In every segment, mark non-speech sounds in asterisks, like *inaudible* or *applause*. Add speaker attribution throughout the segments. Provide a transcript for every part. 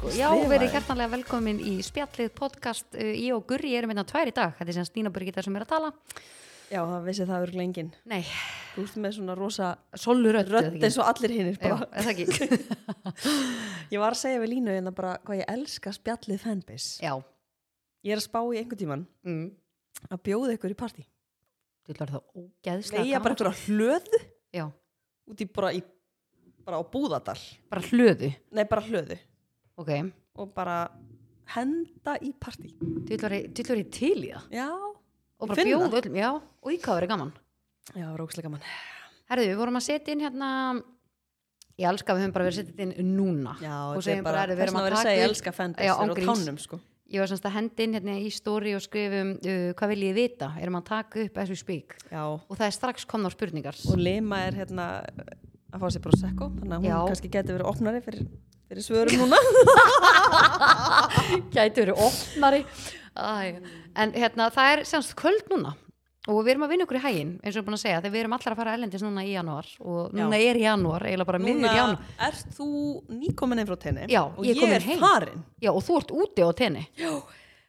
Speaker 1: Já,
Speaker 2: Skrifaði.
Speaker 1: verið hjertanlega velkomin í spjallið podcast Uh, Ég og Gurri erum einna tvær í dag Þetta er sem Stína Birgitta sem er að tala
Speaker 2: Já, það vissi það eru lengin.
Speaker 1: Nei,
Speaker 2: Þú ert með svona rosa
Speaker 1: solur öll
Speaker 2: rödd eins og allir hinnir
Speaker 1: Já,
Speaker 2: bara.
Speaker 1: er það ekki
Speaker 2: *laughs* Ég var að segja við Línu hérna bara hvað ég elska spjallið fanbase.
Speaker 1: Já,
Speaker 2: Ég er að spá í einhvern tíman
Speaker 1: mm.
Speaker 2: að bjóða ykkur í partí.
Speaker 1: þú ætlar það ógeðslega
Speaker 2: Leia bara
Speaker 1: gaman.
Speaker 2: einhverja hlöðu
Speaker 1: Já,
Speaker 2: út í bara, í bara á búðadal.
Speaker 1: bara hlöðu
Speaker 2: Nei, bara hlöðu.
Speaker 1: Ok,
Speaker 2: Og bara henda í partí.
Speaker 1: þú ætlar í- þú ætlar í til í það
Speaker 2: Já.
Speaker 1: Og
Speaker 2: Ég
Speaker 1: bara
Speaker 2: finn
Speaker 1: bjóðu
Speaker 2: það.
Speaker 1: öllum, já, og í hvað verið gaman
Speaker 2: Já, rókslega gaman.
Speaker 1: Herðu, við vorum að setja inn hérna Ég elska að við höfum bara verið að setja inn núna
Speaker 2: Já,
Speaker 1: og
Speaker 2: þetta er
Speaker 1: segjum bara,
Speaker 2: bara,
Speaker 1: bara við
Speaker 2: þess
Speaker 1: erum
Speaker 2: að
Speaker 1: að
Speaker 2: vera að
Speaker 1: taka
Speaker 2: segja
Speaker 1: upp-
Speaker 2: elska fanbase.
Speaker 1: Já,
Speaker 2: Já,
Speaker 1: án
Speaker 2: ángríns.
Speaker 1: gríns.
Speaker 2: Tánum, sko.
Speaker 1: Ég var semst að henda inn hérna í stóri og skrifum uh, hvað vil ég vita, erum að taka upp þessu spík
Speaker 2: Já.
Speaker 1: og það er strax komnar spurningar
Speaker 2: og Lima er hérna að fá sér prosecco þannig að hún
Speaker 1: Já.
Speaker 2: kannski geti verið opnari fyrir, fyrir svörum núna
Speaker 1: gæti verið opnari Æ. en hérna það er semst kvöld núna og við erum að vinna okkur í hægin eins og ég er búin að segja þegar við erum allar að fara erlendis núna í janúar og
Speaker 2: Já.
Speaker 1: núna er janúar, eiginlega bara miður
Speaker 2: núna
Speaker 1: janúar
Speaker 2: ert þú nýkomin einn frá tenni
Speaker 1: Já,
Speaker 2: og
Speaker 1: ég er
Speaker 2: ég,
Speaker 1: komin
Speaker 2: er
Speaker 1: heim.
Speaker 2: farin
Speaker 1: já og þú ert úti á tenni,
Speaker 2: já,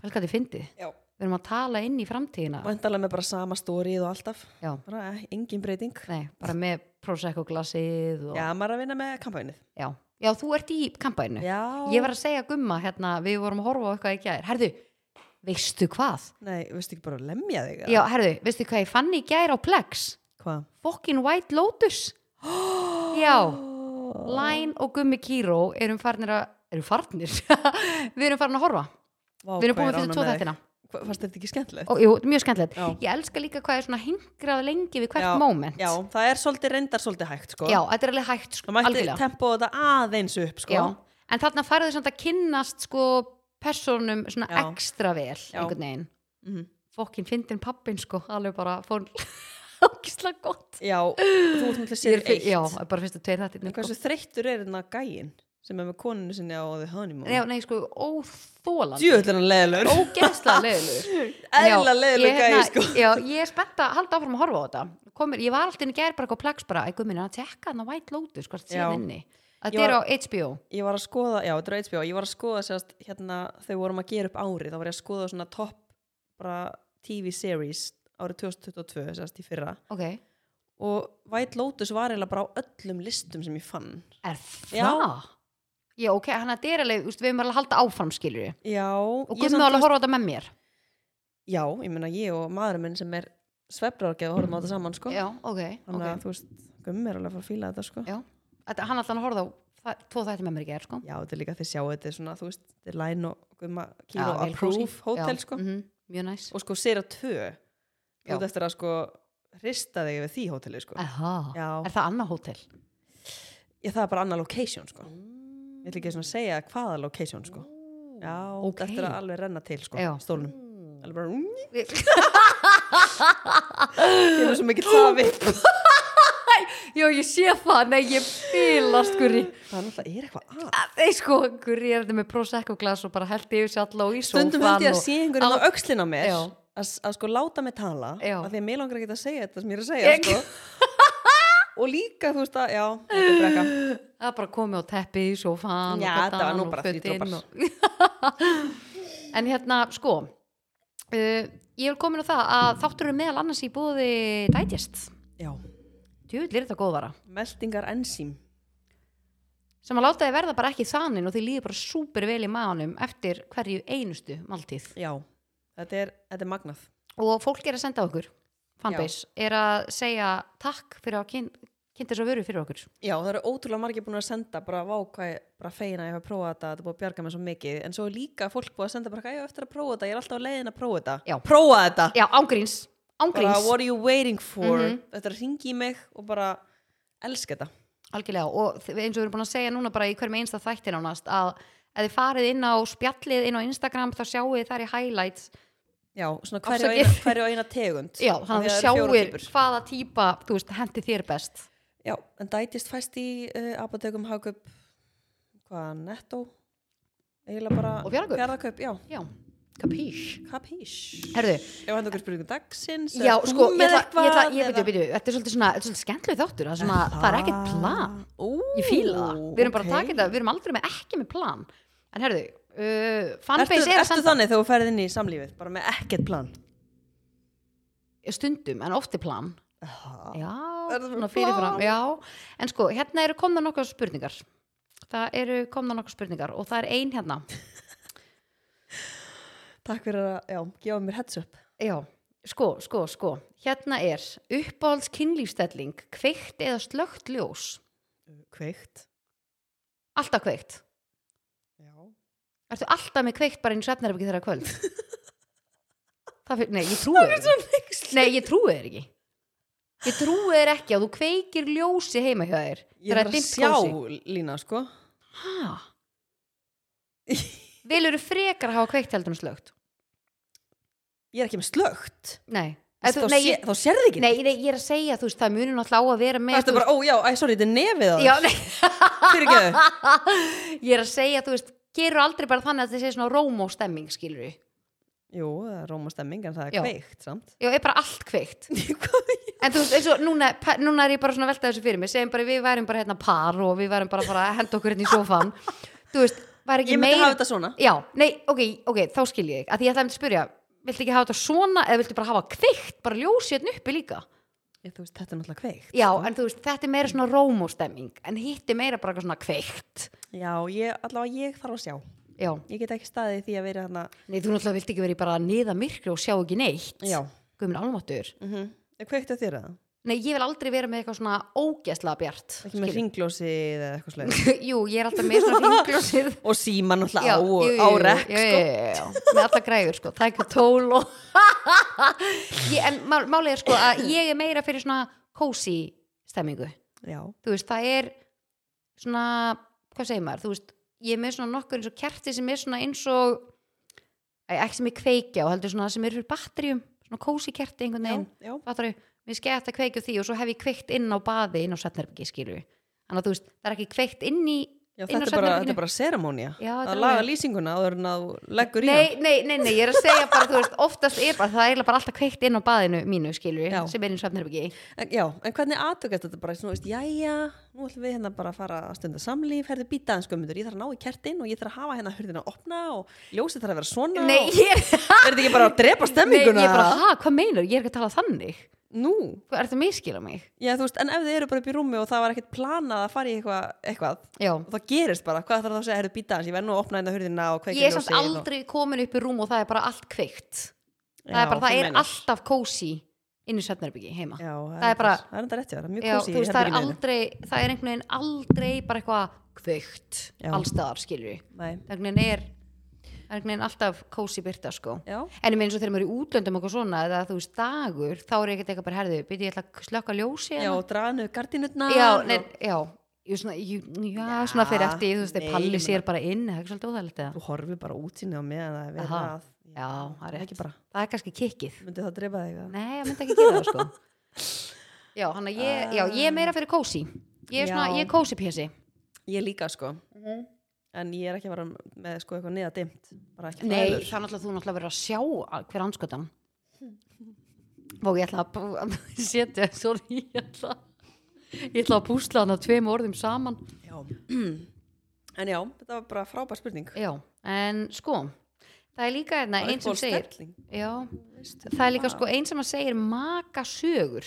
Speaker 1: vel hvað þið fyndið
Speaker 2: já.
Speaker 1: við erum að tala inn í framtíðina
Speaker 2: vandalega með bara sama stórið og alltaf
Speaker 1: já,
Speaker 2: bara eh, engin breyting
Speaker 1: nei, bara með prosecco glasið og,
Speaker 2: já, maður er að vinna með kampænið
Speaker 1: já. já, þú ert í kampæninu
Speaker 2: já,
Speaker 1: Ég var að segja gumma hérna, við vorum að horfa á eitthvað í gær. Herðu, veistu hvað?
Speaker 2: nei, veistu ekki bara að lemja þig
Speaker 1: Já, herðu, veistu hvað ég fann í gær á Plex?
Speaker 2: hvað?
Speaker 1: Fucking White Lotus. Já, Læn og gummi Kíró erum farnir að, erum farnir? *laughs* við erum farin að horfa.
Speaker 2: Vá,
Speaker 1: við erum
Speaker 2: hvað
Speaker 1: búin
Speaker 2: ég er
Speaker 1: að fyrir
Speaker 2: ánægð
Speaker 1: tvo
Speaker 2: með þig.
Speaker 1: þættina.
Speaker 2: Hva- fannst þetta ekki skemmtilegt?
Speaker 1: Og jú, mjög skemmtilegt.
Speaker 2: Já.
Speaker 1: Ég elska líka hvað er svona hingrað lengi við hvert
Speaker 2: Já,
Speaker 1: moment.
Speaker 2: já, það er svolítið reyndar svolítið hægt sko.
Speaker 1: Já, þetta er alveg hægt, sko,
Speaker 2: það mætti
Speaker 1: algjörlega.
Speaker 2: tempóða þetta aðeins upp sko.
Speaker 1: Já, en þarna færðu samt að kynnast, sko, personum svona
Speaker 2: Já.
Speaker 1: ekstra vel,
Speaker 2: Já.
Speaker 1: einhvern veginn.
Speaker 2: Mhm.
Speaker 1: fokkin fyndin pappin sko alveg bara fór *laughs* ákisla gott
Speaker 2: Já, þú ert náttúrulega sér eitt.
Speaker 1: já, bara fyrstu tveir sko. þættir
Speaker 2: En hversu þreyttur er hérna gæinn sem er með koninu sinni á The Honeymoon?
Speaker 1: já, nei sko, óþólan
Speaker 2: Djöðlega hann leðilur.
Speaker 1: ógeðsla
Speaker 2: *laughs*
Speaker 1: leiðilegur
Speaker 2: Eðla
Speaker 1: Já,
Speaker 2: leðilur
Speaker 1: ég,
Speaker 2: gæi,
Speaker 1: hérna,
Speaker 2: sko.
Speaker 1: já, ég er spennt að halda áfram að horfa á þetta Komir, ég var alltaf inn í gær bara eitthvað plaks bara eitthvað minna að tekka hann á White Lotus hvað það
Speaker 2: Já.
Speaker 1: séð inni
Speaker 2: Ég
Speaker 1: þetta er á
Speaker 2: var-
Speaker 1: HBO
Speaker 2: Ég var að skoða, já, þetta er á HBO, ég var að skoða sérst, hérna, þau vorum að gera upp árið, þá var ég að skoða svona topp bara TV series árið 2022, sérst, í fyrra.
Speaker 1: ok,
Speaker 2: Og White Lotus var eiginlega bara á öllum listum sem ég fann.
Speaker 1: er
Speaker 2: Já.
Speaker 1: það? já, ok, hann að þetta er alveg úst, við erum alveg að halda áfram skilur
Speaker 2: Já.
Speaker 1: og
Speaker 2: ég
Speaker 1: gummi
Speaker 2: samt-
Speaker 1: alveg að horfa á þetta með mér
Speaker 2: Já, ég meina ég og maðurinn minn sem er svefnrárgeð og horfum á þetta saman, sko.
Speaker 1: já, ok,
Speaker 2: Þannig að,
Speaker 1: ok
Speaker 2: þú veist, gummi er alveg að fara að fíla þetta, sko.
Speaker 1: já. Þetta- hann alltaf að horfa á það- tvo þætti með mér í gær sko
Speaker 2: Já, þetta er líka þeir sjá þetta er svona, þú veist, þetta er læn og gumma
Speaker 1: Já,
Speaker 2: kíló
Speaker 1: vel kósí.
Speaker 2: approve hótel,
Speaker 1: Já,
Speaker 2: sko.
Speaker 1: mhm, mjög næs
Speaker 2: Og sko, sér að tvö,
Speaker 1: Já.
Speaker 2: þú ert eftir að sko hrista þig yfir því hóteli, sko.
Speaker 1: Aha,
Speaker 2: Já.
Speaker 1: er það annað hótel?
Speaker 2: Ég, það er bara annað location, sko. Ég ætla ekki svona að segja hvaða location, sko. Já,
Speaker 1: ok.
Speaker 2: þetta eftir að alveg renna til, sko,
Speaker 1: Já.
Speaker 2: stólnum. Alveg bara, mm,
Speaker 1: Við-
Speaker 2: *laughs* ég er svo *laughs* mikill hafi.
Speaker 1: Já, ég sé það, nei, ég fylast Guri
Speaker 2: Það er náttúrulega, er eitthvað að.
Speaker 1: Nei, sko, Guri er þetta með prosecco glas og bara held yfir sér alla og í sófan
Speaker 2: Stundum held ég
Speaker 1: og...
Speaker 2: að sé einhverjum á öxlin á mér
Speaker 1: Já.
Speaker 2: að, að sko láta mig tala
Speaker 1: Já.
Speaker 2: að því að mér langar ekki að segja þetta sem ég er að segja
Speaker 1: Ég-
Speaker 2: sko. *laughs* og líka þú veist að já, þetta er brekka
Speaker 1: Það er bara komið á teppi í sófan
Speaker 2: Já,
Speaker 1: og
Speaker 2: þetta var
Speaker 1: koddan
Speaker 2: nú
Speaker 1: og
Speaker 2: bara
Speaker 1: fötin
Speaker 2: þrídropar.
Speaker 1: og- *laughs* En hérna, sko uh, Ég er komin á það að þáttur eru meðal annars í bóði Digest
Speaker 2: Já,
Speaker 1: Djúvill er þetta góðvara
Speaker 2: meldingar ensím
Speaker 1: sem að láta þið verða bara ekki þanin og þið líður bara súper vel í maðanum eftir hverju einustu máltíð
Speaker 2: Já, þetta er, þetta er magnað
Speaker 1: og fólk er að senda okkur fanbase, er að segja takk fyrir að kyn, kynnta svo vöru fyrir okkur
Speaker 2: Já, það eru ótrúlega margir búin að senda bara vákvæði, bara feina, ég hef að prófa þetta þetta er búið að bjarga mér svo mikið, en svo er líka fólk búið að senda bara, "Æ, ég á eftir að prófa þetta, ég er alltaf á leiðin að prófa þetta
Speaker 1: Já.
Speaker 2: Prófa þetta!
Speaker 1: já, ángríns,
Speaker 2: Bara,
Speaker 1: ángríns
Speaker 2: what are you waiting for? Þetta er að ringi í mig og bara elska þetta
Speaker 1: algjörlega og þ- eins og við erum búin að segja núna bara í hverjum einsta þættir nánast að ef þið farið inn á spjallið inn á Instagram þá sjáu þið þar í highlights
Speaker 2: Já, svona hverju og
Speaker 1: Afsakið.
Speaker 2: eina, hverju og eina tegund
Speaker 1: já, þannig
Speaker 2: Af
Speaker 1: að
Speaker 2: því
Speaker 1: þið
Speaker 2: það eru fjórar
Speaker 1: sjáir
Speaker 2: týpur.
Speaker 1: hvaða típa þú veist, hendi þér best
Speaker 2: Já, en dætist fæst í uh, apotekum hagkaup hvað, netto eiginlega bara
Speaker 1: Og Fjarðarkaup.
Speaker 2: fjarðakaup, já,
Speaker 1: já, kapís
Speaker 2: kapís
Speaker 1: herðu,
Speaker 2: Ef hann okkur spurningu dagsins
Speaker 1: Já,
Speaker 2: eða
Speaker 1: sko,
Speaker 2: þú
Speaker 1: ég
Speaker 2: með
Speaker 1: ætla,
Speaker 2: eitthvað
Speaker 1: ég ætla, ég
Speaker 2: eða-
Speaker 1: veitu, veitu, þetta er svolítið svona, þetta er svolítið skemmtileg þáttur, það, er svona, það er ekkert plan,
Speaker 2: Ú,
Speaker 1: ég fíla það, við erum bara að
Speaker 2: ok.
Speaker 1: taka þetta, við erum aldrei með ekki með plan, en herðu, uh,
Speaker 2: Ertu,
Speaker 1: fanbase er
Speaker 2: ertu
Speaker 1: samt
Speaker 2: þannig þegar þú ferð inn í samlífið bara með ekkert plan
Speaker 1: stundum en ofti plan
Speaker 2: Aha.
Speaker 1: já,
Speaker 2: Er það
Speaker 1: svona
Speaker 2: plan?
Speaker 1: fyrirfram já. en sko, hérna eru komna nokkar spurningar það eru komna nokkar spurningar og það er ein
Speaker 2: *laughs*
Speaker 1: hérna
Speaker 2: Takk fyrir að já, gefa mér heads up
Speaker 1: já, sko, sko, sko hérna er uppáhalds kynlífstelling kveikt eða slögt ljós
Speaker 2: Kveikt
Speaker 1: alltaf kveikt
Speaker 2: já.
Speaker 1: Ertu alltaf með kveikt bara inn í svefnarbyggi þeirra kvöld?
Speaker 2: *laughs*
Speaker 1: Það fyrir, nei, ég trúi þér ekki. Nei, ég trúi þér ekki. Ég trúi þér ekki að þú kveikir ljósi heima hjá þér.
Speaker 2: Ég
Speaker 1: þegar
Speaker 2: er
Speaker 1: það
Speaker 2: að
Speaker 1: dimmt
Speaker 2: sjá
Speaker 1: kósí.
Speaker 2: lína sko
Speaker 1: Hæ? Vilur þú frekar að hafa kveikt heldur en slögt?
Speaker 2: Ég er ekki með slögt
Speaker 1: Nei. Ef
Speaker 2: Þá,
Speaker 1: Þú, nei,
Speaker 2: sé,
Speaker 1: ég,
Speaker 2: þá sérði ekki
Speaker 1: nei, nei, ég er að segja, þú veist, það munir náttúrulega á að vera
Speaker 2: Það
Speaker 1: með...
Speaker 2: ertu bara, ó já, æ, sorry, þetta er nefið á
Speaker 1: Já,
Speaker 2: þér
Speaker 1: nei, *laughs*
Speaker 2: *laughs* Fyrir ekki
Speaker 1: ég er að segja, þú veist, gerur aldrei bara þannig að það sé svona rómó stemming, skilur við.
Speaker 2: Jú, það er róma stemming en það er
Speaker 1: Já.
Speaker 2: kveikt samt *laughs*
Speaker 1: Já, er bara allt kveikt.
Speaker 2: Hvað ég-
Speaker 1: En þú veist, eins og núna, pa- núna er ég bara svona að velta þessu fyrir mig, segjum bara við værum bara hérna par og við værum bara að fara að henda okkur hérna í sófan þú veist, væri ekki
Speaker 2: Ég myndi
Speaker 1: meira
Speaker 2: hafa þetta svona
Speaker 1: Já, nei, ok, ok, þá skil ég þig að því ég ætlaði að spyrja, viltu ekki hafa þetta svona eða viltu bara hafa kveikt, bara ljósið hérna uppi líka
Speaker 2: ég, þú veist, Þetta er náttúrulega kveikt
Speaker 1: Já, en þú veist, þetta er meira svona rómóstemming en hitt er meira bara eitthvað svona kveikt
Speaker 2: Já, ég, allavega ég þarf að sjá
Speaker 1: Já,
Speaker 2: Ég get ekki staðið í því að vera hérna
Speaker 1: nei, þú náttúrulega vilt ekki verið bara að niða myrkri og sjá ekki neitt
Speaker 2: Já
Speaker 1: Guð minn almáttur
Speaker 2: mm Kveikt á þér eða?
Speaker 1: Nei, ég vil aldrei vera með eitthvað svona ógæslega bjart
Speaker 2: Ekki með
Speaker 1: skilurðu.
Speaker 2: ringljósi eða eitthvað slega
Speaker 1: *laughs* Jú, ég er alltaf með svona ringljósið
Speaker 2: *laughs* Og síma náttúrulega
Speaker 1: Já,
Speaker 2: á,
Speaker 1: jú, jú,
Speaker 2: á
Speaker 1: jú,
Speaker 2: rekk
Speaker 1: já,
Speaker 2: sko.
Speaker 1: já, já, já, já, með alla græður sko, það er ekki tól og *laughs* ég, en mál, málið er sko að ég er meira fyrir svona kósi stemmingu,
Speaker 2: Já,
Speaker 1: þú veist, það er svona, hvað segir maður þú veist, ég er með svona nokkur eins og kerti sem er svona eins og Æ, ekki sem ég kveikja og heldur svona sem er fyrir batterjum svona kósi kerti einhvern
Speaker 2: já,
Speaker 1: veginn
Speaker 2: já
Speaker 1: fattar þau, mér skeitt að kveikja á því og svo hef ég kveikt inn á baði inn á setnerbyggi skilu, þannig að þú veist, það er ekki kveikt inn í
Speaker 2: Já,
Speaker 1: inn á
Speaker 2: þetta er, bara,
Speaker 1: svefnherberginu.
Speaker 2: þetta er bara seremónia
Speaker 1: Já, þetta
Speaker 2: að
Speaker 1: er
Speaker 2: laga
Speaker 1: alveg-
Speaker 2: lýsinguna áður en að þú leggur í
Speaker 1: nei, nei, nei, nei, ég er að segja bara, þú veist, oftast er bara, það er eiginlega bara alltaf kveikt inn á baðinu mínu, skilur
Speaker 2: Já.
Speaker 1: sem er eins og efnirbyggi.
Speaker 2: hann en, Já, en hvernig aðtökast þetta bara svona, veist, jæja, nú ætlum við hérna bara að fara að stunda samlíf, herðu býta aðeins skömmundur ég þarf að ná í kertin og ég þarf að hafa hérna hurðina að opna og ljósið þarf að vera svona
Speaker 1: Nei,
Speaker 2: og,
Speaker 1: ég,
Speaker 2: er þetta ekki bara að
Speaker 1: nei, ég
Speaker 2: drepa
Speaker 1: er
Speaker 2: stemminguna
Speaker 1: bara, hæ, hvað meinar, ég er ekki að tala þannig.
Speaker 2: Nú,
Speaker 1: Hvað er það miskila mig?
Speaker 2: já, þú veist, en ef þið eru bara upp í rúmi og það var ekkert planað að fara í eitthvað, eitthvað
Speaker 1: Já.
Speaker 2: og það gerist bara, hvað þarf það að segja, herðu býta aðeins ég verð nú að opna hérna hurðina og kveikja
Speaker 1: Ég er samt
Speaker 2: ljósið og-
Speaker 1: aldrei komin upp í rúm og það er bara allt kveikt. Það
Speaker 2: Já,
Speaker 1: er bara,
Speaker 2: þú
Speaker 1: það er
Speaker 2: meinar.
Speaker 1: alltaf kósi inn í svefnarbyggi heima.
Speaker 2: Já,
Speaker 1: Það er bara-
Speaker 2: það er enda rétt, já, það er mjög hérna
Speaker 1: Já,
Speaker 2: kósí
Speaker 1: þú veist, það er aldrei, það er einhvern veginn aldrei bara eitthvað kveikt
Speaker 2: Já.
Speaker 1: allstaðar, skilur við.
Speaker 2: Nei.
Speaker 1: Það er einhvern veginn er, það er einhvern veginn alltaf kósi byrta, sko.
Speaker 2: Já,
Speaker 1: En ég meina eins og þegar maður er í útlöndum og eitthvað svona eða þú veist dagur, þá er ég ekkert eitthvað bara herðu, byrja ég ætla að slökka ljósi
Speaker 2: Já,
Speaker 1: hérna.
Speaker 2: og draga niður gardínutna
Speaker 1: já, nein, já, ég svona, ég, já,
Speaker 2: Já,
Speaker 1: svona fyrir eftir, þú veist,
Speaker 2: nei,
Speaker 1: þeir palli
Speaker 2: ég
Speaker 1: sér bara inn, það er ekki svolítið óþægilegt eða.
Speaker 2: Þú horfir bara út síni á meðan það er verið
Speaker 1: Aha.
Speaker 2: að
Speaker 1: Já, það er
Speaker 2: Ekki bara,
Speaker 1: Það er kannski kikkið.
Speaker 2: myndi það drepa þig að
Speaker 1: Nei, ég myndi ekki gera það, sko.
Speaker 2: *laughs*
Speaker 1: Já, hann að ég, já, ég er meira fyrir kósi. Ég er svona,
Speaker 2: Já.
Speaker 1: ég er kósi pési.
Speaker 2: Ég líka sko
Speaker 1: Mhm.
Speaker 2: En ég er ekki að vera með sko eitthvað niða dimt Bara ekki
Speaker 1: Nei,
Speaker 2: fræður.
Speaker 1: það er náttúrulega þú náttúrulega verið að sjá að- hver
Speaker 2: *laughs*
Speaker 1: anskotan. Og ég ætla að, að setja, sorry, ég ætla, ég ætla að púsla hann að tveim orðum saman.
Speaker 2: já. *clears throat* En já, þetta var bara frábær spurning
Speaker 1: Já, en sko það er líka hérna
Speaker 2: Bara
Speaker 1: einn sem
Speaker 2: uppáhalds
Speaker 1: segir
Speaker 2: stelling,
Speaker 1: já,
Speaker 2: veistu.
Speaker 1: það er líka
Speaker 2: Vá.
Speaker 1: sko einn sem að segir maka sögur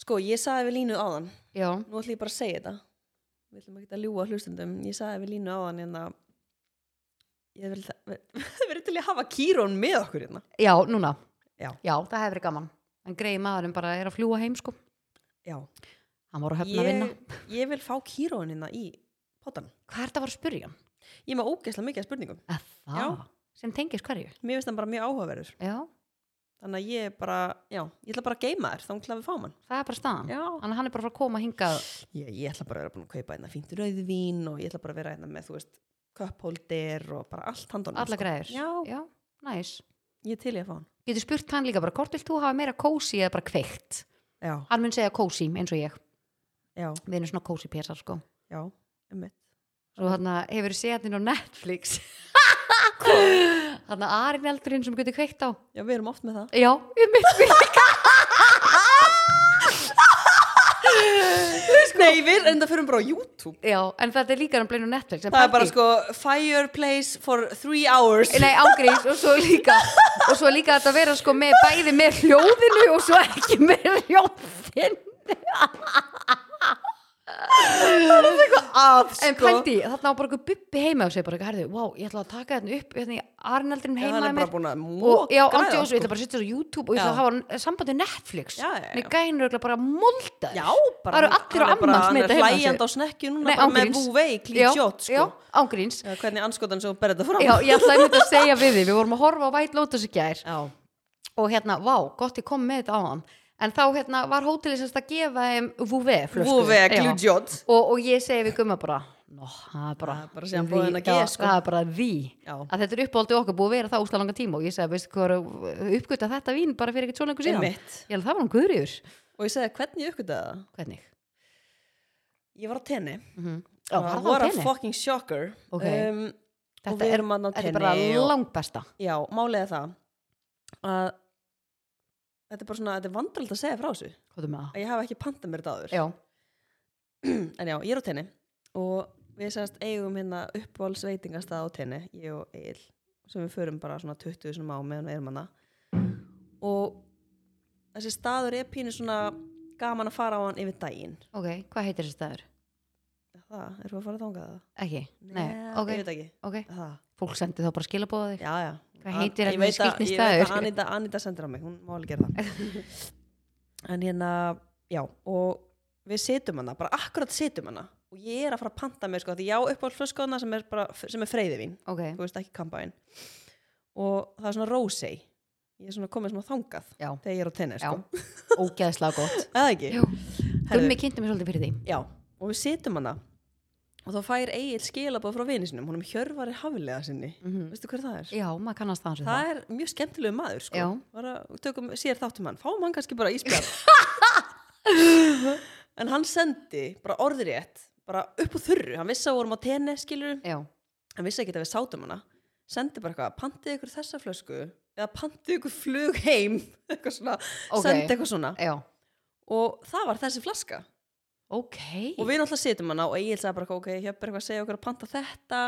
Speaker 2: Sko, ég saði við línu áðan
Speaker 1: já,
Speaker 2: Nú ætlum ég bara að segja þetta Við ætlum ekki að ljúga hlustundum Ég saði við línu áðan en að Ég vil það *laughs* verið til að hafa kýrón með okkur hérna
Speaker 1: já, núna
Speaker 2: Já.
Speaker 1: það hefur verið gaman en greiði maðurinn bara er að fljúa heim sko
Speaker 2: Já,
Speaker 1: hann var að höfna hérna að vinna
Speaker 2: ég, *laughs* ég vil fá kýrónina í potan.
Speaker 1: hvað er þetta að fara að spyrja hann?
Speaker 2: Ég er með ógeðslega mikið af spurningum.
Speaker 1: Að það,
Speaker 2: Já.
Speaker 1: sem tengist hverju
Speaker 2: Mér finnst það bara mjög áhugaverður.
Speaker 1: já,
Speaker 2: Þannig að ég er bara, já, ég ætla bara að geima þér, þá ætla við fáum hann.
Speaker 1: það er bara staðan
Speaker 2: Já.
Speaker 1: Þannig að hann er bara að fara að koma hingað
Speaker 2: Ég, ég ætla bara að vera búin að kaupa hérna fínt rauðvín og ég ætla bara að vera hérna með, þú veist, köpholdir og bara allt handan.
Speaker 1: alla græður
Speaker 2: Sko, Já,
Speaker 1: já, næs
Speaker 2: ég er til ég að fá hann.
Speaker 1: getur spurt hann líka bara, hvort vilt þú hafa meira kósi eða bara kveikt
Speaker 2: Já,
Speaker 1: hann mun segja kósi eins og ég
Speaker 2: já,
Speaker 1: við erum svona kósi pésar sko
Speaker 2: já, emmitt.
Speaker 1: Svo hann hefur séð hann á
Speaker 2: *laughs*
Speaker 1: Netflix Hann að Arin eldurinn sem getur kveikt á
Speaker 2: Já, við erum oft með það.
Speaker 1: Já, ég mitt mig Sko.
Speaker 2: Nei, við enda fyrir bara á YouTube
Speaker 1: *laughs* Já, en þetta er líka um bleinu Netflix en
Speaker 2: Það er bara
Speaker 1: pældi-
Speaker 2: sko fireplace for three hours
Speaker 1: Nei, ágríns og svo líka og svo líka að þetta vera sko með bæði með hljóðinu og svo ekki með hljóðin
Speaker 2: að
Speaker 1: En pældi, sko. þarna á bara eitthvað bubbi heima og segir bara, eitthvað, herðu, wow, ég ætla að taka þetta upp hérna í Arnaldinum
Speaker 2: Hann
Speaker 1: heima í
Speaker 2: er bara
Speaker 1: mér
Speaker 2: búin að
Speaker 1: og já,
Speaker 2: móka
Speaker 1: ándi og svo, ég
Speaker 2: sko.
Speaker 1: ætla bara að setja þessu á YouTube og ég ætla
Speaker 2: Já.
Speaker 1: að hafa sambandi við Netflix
Speaker 2: Já, já, já.
Speaker 1: Nei, gæin eru örugglega bara moldaðir
Speaker 2: Já, bara
Speaker 1: Það eru allir
Speaker 2: hann
Speaker 1: á
Speaker 2: er bara-
Speaker 1: ammans með þetta
Speaker 2: Hann
Speaker 1: heima á
Speaker 2: er
Speaker 1: sér.
Speaker 2: hlægjand á snekju núna
Speaker 1: Nei,
Speaker 2: bara með
Speaker 1: ángríns.
Speaker 2: búvei,
Speaker 1: Já,
Speaker 2: klítsjót
Speaker 1: Já,
Speaker 2: sko
Speaker 1: ángríns
Speaker 2: Eða Hvernig anskotan svo berði þetta fram
Speaker 1: Já, ég ætlaði myndi að segja við því, við vorum að horfa á White Lotus í gær
Speaker 2: já.
Speaker 1: og hérna, vá, gott ég kom með þetta á hann en þá hérna var hótelið semst að gefa þeim vúve flösku
Speaker 2: Búvei,
Speaker 1: Já.
Speaker 2: klítsjót
Speaker 1: og, og ég segi við gumma bara Nó, það er bara,
Speaker 2: Það er bara síðan
Speaker 1: því-
Speaker 2: boðin að
Speaker 1: já,
Speaker 2: geð, sko."
Speaker 1: það er bara því
Speaker 2: Já.
Speaker 1: að þetta er uppáldið okkar búið að vera það úsla langan tíma og ég segi, veistu hvað er uppgötta þetta vín bara fyrir ekkert svona einhver síðan
Speaker 2: Einmitt.
Speaker 1: ég held það var hann guðriður,
Speaker 2: Og ég segi, hvernig ég uppgötaði það?
Speaker 1: hvernig
Speaker 2: Ég var á tenni
Speaker 1: mm já, var það
Speaker 2: var
Speaker 1: var
Speaker 2: að
Speaker 1: henni
Speaker 2: fucking shocker
Speaker 1: Ok.
Speaker 2: um, og
Speaker 1: þetta
Speaker 2: við
Speaker 1: er,
Speaker 2: erum að ná
Speaker 1: þetta er bara
Speaker 2: tenni og,
Speaker 1: langbesta
Speaker 2: Já, málið er það að þetta er bara svona, þetta er vandrald að segja frá þessu
Speaker 1: hvað er með það?
Speaker 2: að ég hafa ekki pantað mér þetta áður
Speaker 1: já,
Speaker 2: *clears throat* en já, ég er á tenni og við sérst eigum hérna uppáhaldsveitingastað á tenni, ég og Egil sem við förum bara svona 20 sem á meðan við erum hana og þessi staður er pínu svona gaman að fara á hann yfir daginn
Speaker 1: ok, hvað heitir þessi staður?
Speaker 2: það, erum við að fara að þangað það?
Speaker 1: ekki, nei, ok,
Speaker 2: ég veit ekki
Speaker 1: ok
Speaker 2: það,
Speaker 1: fólk sendi þá bara skilabóða þig
Speaker 2: já, já
Speaker 1: Hvað
Speaker 2: An-
Speaker 1: heitir
Speaker 2: ég
Speaker 1: þetta
Speaker 2: veit að-
Speaker 1: skrýtni
Speaker 2: ég veit
Speaker 1: staður?
Speaker 2: að Anita, Anita sendir á mig, hún má alveg gera það
Speaker 1: *laughs*
Speaker 2: en hérna, já og við situm hana, bara akkurat situm hana og ég er að fara að panta mér sko, því ég á uppáhaldsflöskona sem er bara, sem er freyði mín
Speaker 1: ok,
Speaker 2: þú veist ekki kampaðin og það er svona rósei ég er svona komið svona þangað
Speaker 1: já,
Speaker 2: þegar ég er á tenni
Speaker 1: já
Speaker 2: sko,
Speaker 1: ógeðslega
Speaker 2: *laughs*
Speaker 1: gott
Speaker 2: eða ekki
Speaker 1: Jú.
Speaker 2: Herðu,
Speaker 1: gummi kynnti mér svolítið fyrir því
Speaker 2: já, og við situm hana og þá fær Egil skilabóð frá vini sinum, hún er hjörvari haflega sinni
Speaker 1: Mhm.
Speaker 2: veistu hver það er?
Speaker 1: já, maður kannast það hans við
Speaker 2: það er mjög skemmtilegu maður sko.
Speaker 1: Já.
Speaker 2: bara tökum sér þáttum hann fáum hann kannski bara íspjall
Speaker 1: *laughs*
Speaker 2: en hann sendi bara orðrétt, bara upp úr þurru hann vissi að við vorum á tenni skilur
Speaker 1: það já,
Speaker 2: hann vissi ekki að við sátum hana sendi bara eitthvað, pantið ykkur þessa flösku eða pantið ykkur flug heim *laughs* eitthvað svona,
Speaker 1: Ok.
Speaker 2: sendi eitthvað svona
Speaker 1: já
Speaker 2: og það var þessi flaska
Speaker 1: Ok,
Speaker 2: og við náttúrulega situm hana og Egil sagði bara eitthvað, ok, hjöp er eitthvað að segja okkur að panta þetta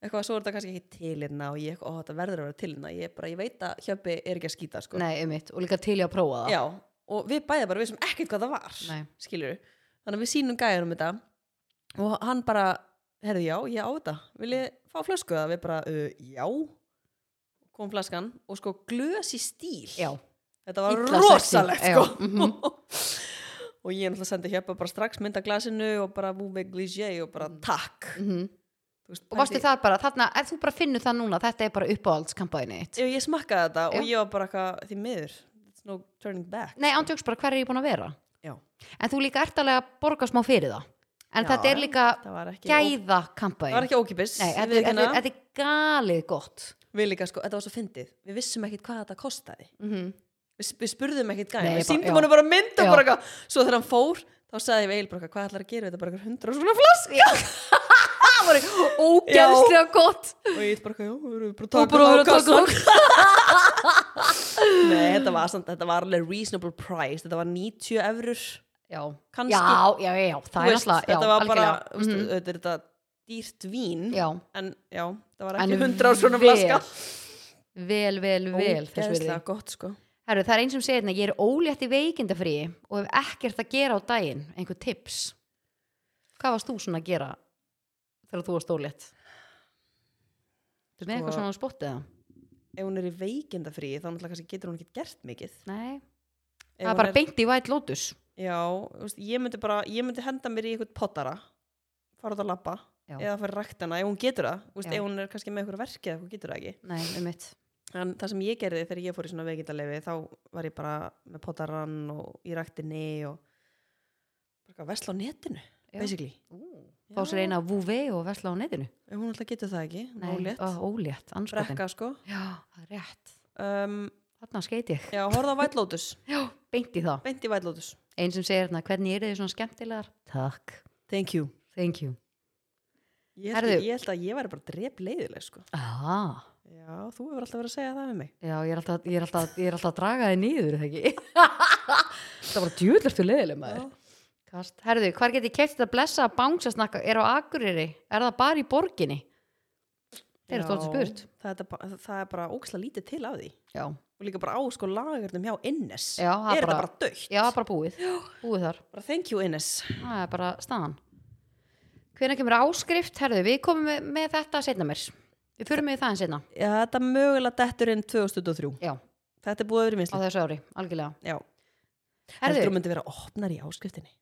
Speaker 2: eitthvað, svo er þetta kannski ekki til hérna og ég, ó, þetta verður að vera til hérna ég, bara, ég veit að hjöppi er ekki að skýta sko.
Speaker 1: nei, um og líka til ég að prófa það
Speaker 2: Já, og við bæði bara vissum ekkert hvað það var
Speaker 1: Nei.
Speaker 2: skilur við, þannig að við sínum gæðunum þetta og hann bara herði já, ég á þetta, vil ég fá flösku það við bara, uh, já kom flaskan og sko glös í stíl
Speaker 1: Já,
Speaker 2: þetta var
Speaker 1: Illa
Speaker 2: rosalegt
Speaker 1: sexy,
Speaker 2: sko
Speaker 1: já, mhm.
Speaker 2: *laughs* og ég náttúrulega sendi hjöpa bara strax mynda glasinu og bara vúmi glísjei og bara takk
Speaker 1: mhm
Speaker 2: Þú veist,
Speaker 1: Og varstu
Speaker 2: pældi-
Speaker 1: það bara, þarna, er þú bara finnur það núna Þetta er bara uppáhaldskampæðinni þitt
Speaker 2: Já, ég smakkaði þetta og
Speaker 1: Já.
Speaker 2: ég var bara eitthvað því miður, it's no turning back
Speaker 1: Nei, ándjóks bara hver er ég búin að vera
Speaker 2: Já.
Speaker 1: En þú líka ert alveg að borga smá fyrir það En
Speaker 2: Já,
Speaker 1: þetta er líka
Speaker 2: það var ekki, ó-
Speaker 1: gæða
Speaker 2: það var
Speaker 1: kampæðin Nei,
Speaker 2: ekki ókipis
Speaker 1: þetta
Speaker 2: ég
Speaker 1: er- þetta
Speaker 2: viðurkenna.
Speaker 1: er- þetta er galið gott
Speaker 2: Við líka sko, þetta var svo fyndið Við vissum ekkit hvað þetta kostaði
Speaker 1: mm -hmm.
Speaker 2: Við, við spurðum ekkit
Speaker 1: Nei, ég bara-
Speaker 2: gæðin, við
Speaker 1: já.
Speaker 2: síndum hann bara mynd og
Speaker 1: Já.
Speaker 2: bara eitthvað Svo þegar hann fór, þá sagði ég við Egil bara eitthvað, Hvað ætlar að gera við þetta bara hundra svona flaska
Speaker 1: Ógæðslega gott
Speaker 2: Og ég eitthvað, já, við erum bara
Speaker 1: Og
Speaker 2: að
Speaker 1: bara
Speaker 2: taka
Speaker 1: vera að taka
Speaker 2: kassann." *laughs* Nei, þetta var, samt, þetta var alveg reasonable price Þetta var 90 eurur
Speaker 1: Já,
Speaker 2: kannski
Speaker 1: já, já, já,
Speaker 2: Þú
Speaker 1: það er
Speaker 2: veist,
Speaker 1: alltaf já,
Speaker 2: Þetta var bara,
Speaker 1: algjörlega.
Speaker 2: þú veist, mm.
Speaker 1: Mhm.
Speaker 2: auðvitað er þetta dýrt vín
Speaker 1: Já,
Speaker 2: En já, það var
Speaker 1: En
Speaker 2: ekki hundra svona
Speaker 1: vel,
Speaker 2: flaska
Speaker 1: vel, vel, vel þess virði.
Speaker 2: Ógeðslega gott sko
Speaker 1: Herru, það er eins sem segir hérna, ég er ólétt í veikindafríi og hef ekkert að gera á daginn, einhver tips. Hvað varst þú svona að gera þegar þú varst ólétt? Þú með
Speaker 2: Sko-
Speaker 1: eitthvað svona á spottið það?
Speaker 2: Ef hún er í veikindafrí, þá náttúrulega kannski getur hún ekki gert mikið
Speaker 1: Nei,
Speaker 2: Ef
Speaker 1: það
Speaker 2: hún
Speaker 1: er bara beint í White Lotus.
Speaker 2: Já, þú veist, ég myndi bara, ég myndi henda mér í eitthvað pottara, fara út að labba
Speaker 1: Já.
Speaker 2: eða fara í ræktana, ef hún getur það þú veist,
Speaker 1: Já.
Speaker 2: ef hún er kannski með eitthvað verkið eða hún getur það ekki
Speaker 1: Nei, um mitt.
Speaker 2: en það sem ég gerði þegar ég fór í svona veikindalefi þá var ég bara með pottaran og í ræktinni og bara eitthvað vesla á netinu,
Speaker 1: Já.
Speaker 2: basically
Speaker 1: Fá sér eina vúvi og vesla á netinu.
Speaker 2: Ef hún alltaf getur það ekki,
Speaker 1: Nei,
Speaker 2: ólétt
Speaker 1: ó, ólétt, anskotin.
Speaker 2: brekka sko
Speaker 1: Já, það er rétt.
Speaker 2: um,
Speaker 1: Þarna skeit ég.
Speaker 2: Já, horfða á White Lotus,
Speaker 1: Já, beint í það.
Speaker 2: beint í White Lotus
Speaker 1: Einn sem segir hérna, hvernig er þið svona skemmtilegar? Takk.
Speaker 2: Thank you
Speaker 1: Thank you.
Speaker 2: Ég held,
Speaker 1: Herðu.
Speaker 2: ég held að ég væri bara drep leiðileg sko
Speaker 1: Ah.
Speaker 2: Já, þú hefur alltaf verið að segja það við mig
Speaker 1: Já, ég er alltaf, ég er *laughs* alltaf, ég er alltaf að draga þið niður, er það ekki? það var djúðlertu leðileg maður.
Speaker 2: Já.
Speaker 1: Kast. Herðu, hvar get ég keft þetta blessa að bánsasnakka er á Akureyri? Er það bara í borginni? Þeir eru
Speaker 2: Já,
Speaker 1: stóðið spurt.
Speaker 2: það er, þetta bara, það er bara óksla lítið til af því
Speaker 1: Já,
Speaker 2: og líka bara á sko lagurnum hjá Innes
Speaker 1: Já, það bara-
Speaker 2: er þetta bara dögt
Speaker 1: já, bara búið. Búið þar.
Speaker 2: bara thank you Innes
Speaker 1: Það er bara staðan. Hvenær kemur áskrift? Herðu, við komum með, með þetta setna mér. Við fyrir með það en setna.
Speaker 2: já, þetta mögulega dettur inn 2023
Speaker 1: Já,
Speaker 2: þetta er búið að vera í
Speaker 1: á
Speaker 2: vinslu
Speaker 1: þessu ári, algjörlega.
Speaker 2: já, heldur þú
Speaker 1: Herðu,
Speaker 2: myndi vera opnar í áskriftinni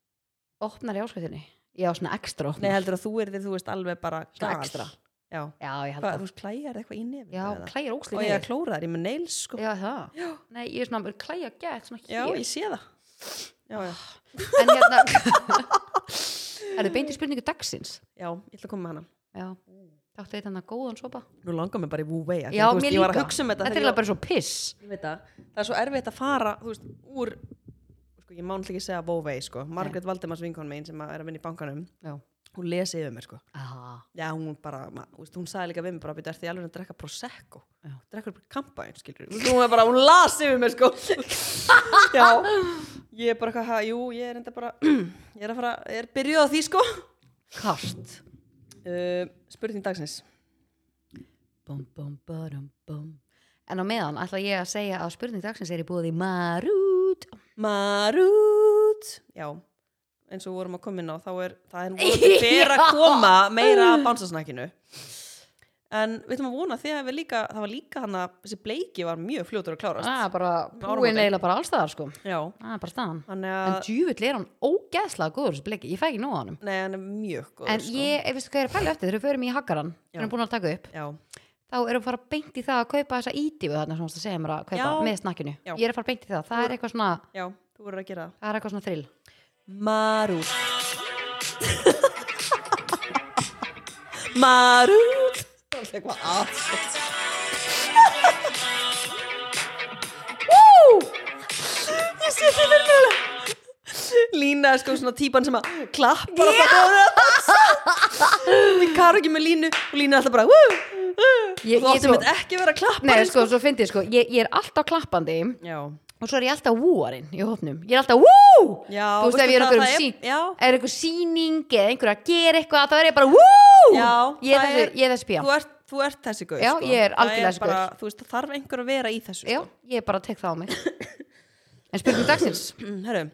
Speaker 1: opnar í áskriftinni? Já, svona ekstra
Speaker 2: nei,
Speaker 1: opnar.
Speaker 2: heldur að þú er þið, þú veist, alveg bara
Speaker 1: Svona
Speaker 2: gal.
Speaker 1: extra.
Speaker 2: já,
Speaker 1: Já, ég held
Speaker 2: Hva,
Speaker 1: það.
Speaker 2: þú veist, klæjar eitthvað í nefn
Speaker 1: Já, klæjar
Speaker 2: og
Speaker 1: óskriftinni.
Speaker 2: ég er klóraðar, ég er með nails sko. já.
Speaker 1: Já, það. Nei, ég er svona, klæja gett, svona hér.
Speaker 2: ég sé það
Speaker 1: Ah.
Speaker 2: já, já.
Speaker 1: En hérna *laughs* Er þið beinti spurningu dagsins?
Speaker 2: já, ég ætla að koma með hana
Speaker 1: Já Þáttu eitt hann að góðan sopa
Speaker 2: nú langar mér bara í Wu-Wei af því
Speaker 1: Já,
Speaker 2: að, þú veist,
Speaker 1: mér
Speaker 2: ég var að
Speaker 1: líka
Speaker 2: hugsa um þetta
Speaker 1: Þetta er
Speaker 2: þegar ég-
Speaker 1: eiginlega bara svo piss
Speaker 2: Ég veit það, það er svo erfitt að fara þú veist, úr sko, ég má náttúrulega ekki segja vóvei sko. Margrét Valdemars vinkon megin sem að er að vinna í bankanum
Speaker 1: Já
Speaker 2: hún lesi yfir mér sko.
Speaker 1: ah,
Speaker 2: já, hún, bara, ma, þú veist, hún sagði líka við mér bara "Bíddu, ertu í alveg að drekka prosecco
Speaker 1: Já.
Speaker 2: drekka bara kampaðin skilur hún, er bara, hún las yfir mér sko. *laughs* já, ég er bara eitthvað, ha, jú, ég er enda bara *clears throat* ég er að fara, ég er byrjuð á því sko.
Speaker 1: Kart
Speaker 2: uh, spurning dagsins
Speaker 1: bum, bum, barum, bum. En á meðan ætla ég að segja að spurning dagsins er í búið í Marút
Speaker 2: Marút Já, eins og við vorum að koma inn á þá er,
Speaker 1: *laughs*
Speaker 2: það er vonandi fyrir að
Speaker 1: Já.
Speaker 2: koma meira að bánsasnakinu En við ætlum að vona þegar við líka það var líka hann að þessi bleiki var mjög fljótur að klárast
Speaker 1: Það er Ah, bara
Speaker 2: Áramótin.
Speaker 1: búin eiginlega bara allstaðar sko
Speaker 2: Já,
Speaker 1: Það er bara staðan
Speaker 2: hann er,
Speaker 1: En
Speaker 2: að,
Speaker 1: djúvill er hann ógeðslega góður þessu bleki Ég fæ ekki nóg á honum
Speaker 2: nei, hann er mjög góð
Speaker 1: En ég, ég veistu hvað ég er að pæla eftir þegar við förum í hakaran
Speaker 2: sko. Já.
Speaker 1: Þegar hann búin að taka upp
Speaker 2: Já,
Speaker 1: þá erum við fara beint í það að kaupa þessa ídífu þarna sem þú varst að segja mér að kaupa
Speaker 2: Já.
Speaker 1: með snakkinu
Speaker 2: Já.
Speaker 1: ég er að fara beint í það, það er eitthvað svona,
Speaker 2: já, þú voru að gera það
Speaker 1: það er eitthvað svona þrill
Speaker 2: Marút Marút Það er eitthvað að Wú! Ég sé þið fyrir mér alveg. Lína er sko svona típan sem að klappar alltaf þegar hún er að dansa Við karum ekki með Línu og Lína er alltaf bara Wú!
Speaker 1: Ég-
Speaker 2: Ég, þú
Speaker 1: ég
Speaker 2: áttum
Speaker 1: sko-
Speaker 2: þetta ekki að vera klappar
Speaker 1: Nei, sko, svo fyndi ég sko, ég, ég er alltaf klappandi
Speaker 2: Já,
Speaker 1: og svo er ég alltaf vúarinn í hópnum ég er alltaf vú
Speaker 2: já
Speaker 1: þú veist ef ég er
Speaker 2: hvað
Speaker 1: einhverjum
Speaker 2: það
Speaker 1: sín
Speaker 2: Já,
Speaker 1: er einhver síning eða einhver að gera eitthvað þá er ég bara vú
Speaker 2: Já,
Speaker 1: ég er
Speaker 2: það
Speaker 1: þessi,
Speaker 2: er-
Speaker 1: ég er þessi pía
Speaker 2: þú ert, þú ert þessi gauð
Speaker 1: Já,
Speaker 2: sko.
Speaker 1: ég er
Speaker 2: Það
Speaker 1: algjörlega þessi
Speaker 2: bara- Þú veist, það þarf einhver að vera í þessu
Speaker 1: já,
Speaker 2: sko.
Speaker 1: ég bara tek það á mig en spurning dagsins
Speaker 2: sko. *clears throat* Herru,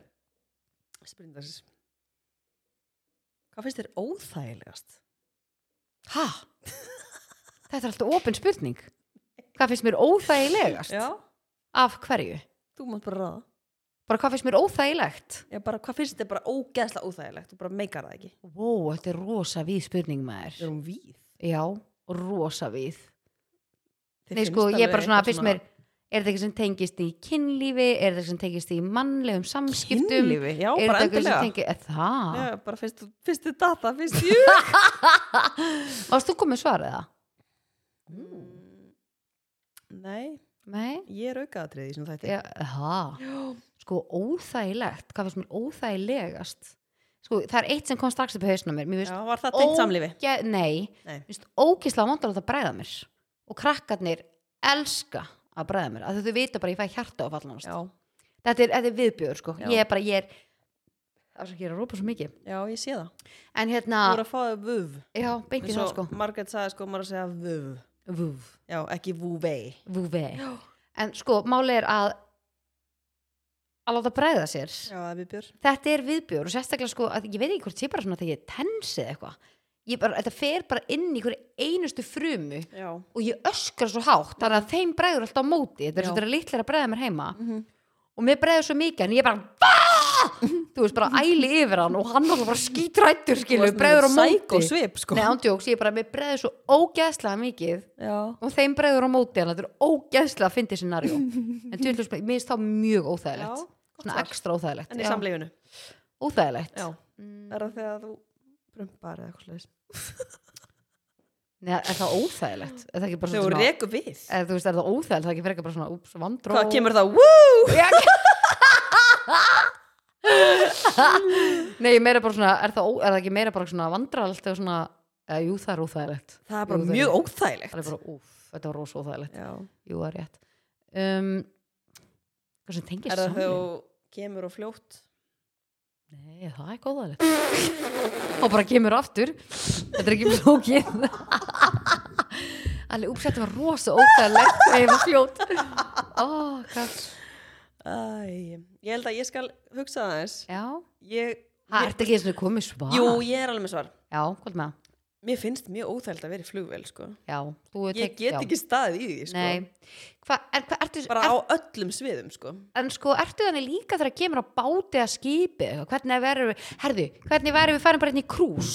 Speaker 2: spurning þessis Hvað finnst þér óþægilegast?
Speaker 1: ha? þetta er alltaf opin spurning hvað finnst mér óþægilegast
Speaker 2: Já,
Speaker 1: af hverju?
Speaker 2: þú mátt bara ráða
Speaker 1: bara hvað finnst mér óþægilegt
Speaker 2: Já, bara, hvað finnst þér bara ógeðslega óþægilegt? Þú bara meikar það ekki
Speaker 1: Vó, þetta er rosa víð spurning maður
Speaker 2: hún víð
Speaker 1: Já, rosa víð
Speaker 2: Þér
Speaker 1: Nei
Speaker 2: finnst
Speaker 1: sko, ég
Speaker 2: alveg
Speaker 1: er bara svona,
Speaker 2: eitthvað
Speaker 1: finnst mér Er þetta eitthvað sem tengist í kynlífi Er þetta eitthvað sem tengist í mannlegum samskiptum
Speaker 2: Kynlífi, já,
Speaker 1: Er þetta
Speaker 2: bara
Speaker 1: eitthvað
Speaker 2: endilega
Speaker 1: sem tengist Er það?
Speaker 2: Já, bara finnst þú- finnst þér data,
Speaker 1: *laughs*
Speaker 2: finnst þér
Speaker 1: Varst þú komið svarið það? Mm.
Speaker 2: Mm. Nei,
Speaker 1: Nei?
Speaker 2: ég er aukaðatrið í svona þætti
Speaker 1: Já, það Sko, óþægilegt, hvað finnst mér óþægilegast Sko, það er eitt sem kom strax upp í hausnum mér Mér finnst
Speaker 2: Já, var það tengt samlífi?
Speaker 1: óge- Nei,
Speaker 2: Nei.
Speaker 1: Mér finnst ógislega vond að láta bræða mér og krakkarnir elska að bræða mér, af því þau vita bara að ég fæ hjarta á fallanast,
Speaker 2: Já,
Speaker 1: þetta er, þetta er viðbjör sko,
Speaker 2: Já.
Speaker 1: ég er bara, ég er það sem ég er að rópa svo mikið,
Speaker 2: já, ég sé það
Speaker 1: en hérna
Speaker 2: Þú voru að fá þau vöv
Speaker 1: já, beint í
Speaker 2: Ah. eins
Speaker 1: það
Speaker 2: og
Speaker 1: sko
Speaker 2: Margaret sagði sko, maður að segja vuv
Speaker 1: vúf,
Speaker 2: já, ekki vuvei
Speaker 1: vúve en sko, máli er að að láta bræða sér
Speaker 2: já, það er við björ
Speaker 1: þetta er viðbjör og sérstaklega sko, að, ég veit ekki hvort sé bara svona þegar ég tensi eitthvað Ég bara, þetta fer bara inn í hverju einustu frumu
Speaker 2: já,
Speaker 1: og ég öskra svo hátt þannig að þeim bregður alltaf á móti þetta er
Speaker 2: Já.
Speaker 1: svo þetta litlir að bregða mér heima
Speaker 2: Mhm.
Speaker 1: og mér bregður svo mikið en ég bara "Vá!" þú veist bara æli yfir hann og hann alltaf bara skítrættur skilur bregður á
Speaker 2: og
Speaker 1: móti
Speaker 2: svip sko
Speaker 1: Nei, ándjóks, ég bara, mér bregður svo ógeðslega mikið
Speaker 2: já,
Speaker 1: og þeim bregður á móti hann, þetta er ógeðslega að fyndi scenari
Speaker 2: *laughs*
Speaker 1: en tjóðlust, mér finnst þá mjög
Speaker 2: já
Speaker 1: óþægilegt svona
Speaker 2: svar.
Speaker 1: ekstra óþægilegt
Speaker 2: en í
Speaker 1: Já,
Speaker 2: samleifinu
Speaker 1: óþægilegt
Speaker 2: já,
Speaker 1: Mm,
Speaker 2: er það þegar þú prumpar eða eitthvað slags
Speaker 1: Nei, er það óþægilegt? Er það ekki bara
Speaker 2: þegar þú
Speaker 1: svona sem að-
Speaker 2: reku við
Speaker 1: eða þú veist, er það óþægilegt? Það er ekki frekar bara svona, úps, vandró
Speaker 2: hvað kemur það, wúúú
Speaker 1: Já. Nei, ég meira bara svona er það, ó- er það ekki meira bara svona vandralt og svona, eða, jú það er óþægilegt
Speaker 2: það er
Speaker 1: Jú,
Speaker 2: bara
Speaker 1: það
Speaker 2: mjög
Speaker 1: er-
Speaker 2: óþægilegt
Speaker 1: það er bara, úf, þetta var rosa óþægilegt
Speaker 2: já,
Speaker 1: jú, það er rétt um, hvað sem tengir
Speaker 2: er það
Speaker 1: saman
Speaker 2: þegar þú kemur og fljótt
Speaker 1: Nei, það er góðalegt Og bara kemur aftur Þetta er ekki flókið Alveg, úps, þetta var rosa óþægilegt Nei, það var fljót Ó, hvað
Speaker 2: Æ, ég held að ég skal hugsa það eins
Speaker 1: Já,
Speaker 2: ég,
Speaker 1: það
Speaker 2: ég,
Speaker 1: ert ekki eins og komið svar
Speaker 2: Jú, ég er alveg með svar
Speaker 1: Já, hvað með það?
Speaker 2: Mér finnst mjög óþægild að vera í flugvél sko.
Speaker 1: Já, þú hefur
Speaker 2: Ég
Speaker 1: tekið-
Speaker 2: get
Speaker 1: já.
Speaker 2: ekki staðið í því sko.
Speaker 1: Nei, Hva, en, hva, ertu,
Speaker 2: Bara
Speaker 1: er,
Speaker 2: á öllum sviðum sko.
Speaker 1: en sko, ertu þannig líka þegar kemur á báti að skipi eitthvað? hvernig verður við, herðu, hvernig verður við farin bara inn í krús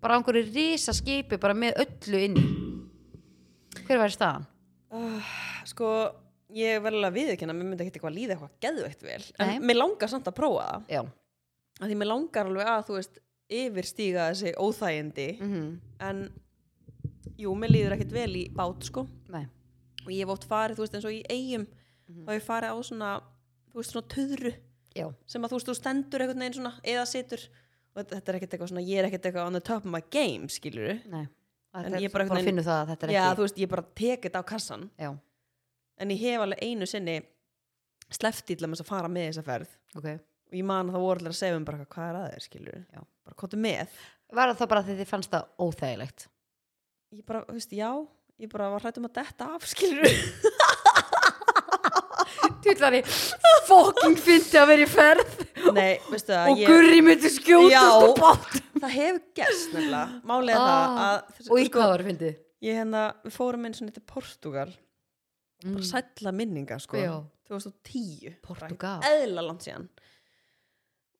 Speaker 1: bara á einhverju risa skipi bara með öllu inn í hver verður staðan?
Speaker 2: sko, ég verður alveg að viðurkenna Mér myndi ekki eitthvað líða eitthvað geðveikt vel En
Speaker 1: Nei.
Speaker 2: mér langar samt að prófa það
Speaker 1: Já,
Speaker 2: Af Því mér langar alveg að, þú veist, yfirstíga þessi óþægindi
Speaker 1: mhm
Speaker 2: En, jú, mér líður ekkert vel í bát sko.
Speaker 1: Nei.
Speaker 2: Og ég hef oft farið, þú veist, eins og í eigum
Speaker 1: Mhm.
Speaker 2: Þá hef ég farið á svona, þú veist, svona töðru
Speaker 1: Já,
Speaker 2: sem að þú veist, þú stendur einhvern veginn svona eða situr og þetta- þetta er ekkert eitthvað svona, ég er ekkert eitthvað on the top of my game, skilur
Speaker 1: nei
Speaker 2: En
Speaker 1: Þetta
Speaker 2: ég
Speaker 1: er bara,
Speaker 2: bara
Speaker 1: bara
Speaker 2: einhvern
Speaker 1: að finna það að þetta er
Speaker 2: Já,
Speaker 1: ekki
Speaker 2: þú veist, ég bara tek þetta á kassan
Speaker 1: Já,
Speaker 2: en ég hef alveg einu sinni slefti til að að fara með þessa ferð
Speaker 1: ok
Speaker 2: og ég man að það voru allir að segja um bara eitthvað, hvað er að þér, skilur
Speaker 1: Já.
Speaker 2: bara kóttu með,
Speaker 1: Var það þá bara því þið fannst það óþægilegt
Speaker 2: ég bara, þú veist, já ég bara var hrætt um að detta af, *laughs* skilur
Speaker 1: *laughs* Tvítlari, fokking fyndi að vera í ferð
Speaker 2: Nei, veistu það,
Speaker 1: og gurri myndi skjótast
Speaker 2: Já.
Speaker 1: og bátt
Speaker 2: það hefur gerst nefnilega, málið er
Speaker 1: Ah,
Speaker 2: það að
Speaker 1: Og í hvað var fyndið?
Speaker 2: ég hérna, við fórum einn svona til Portugal
Speaker 1: Mm.
Speaker 2: bara sælla minninga, sko
Speaker 1: Já.
Speaker 2: 2010 bara ekkert
Speaker 1: Portugal.
Speaker 2: eðla langt síðan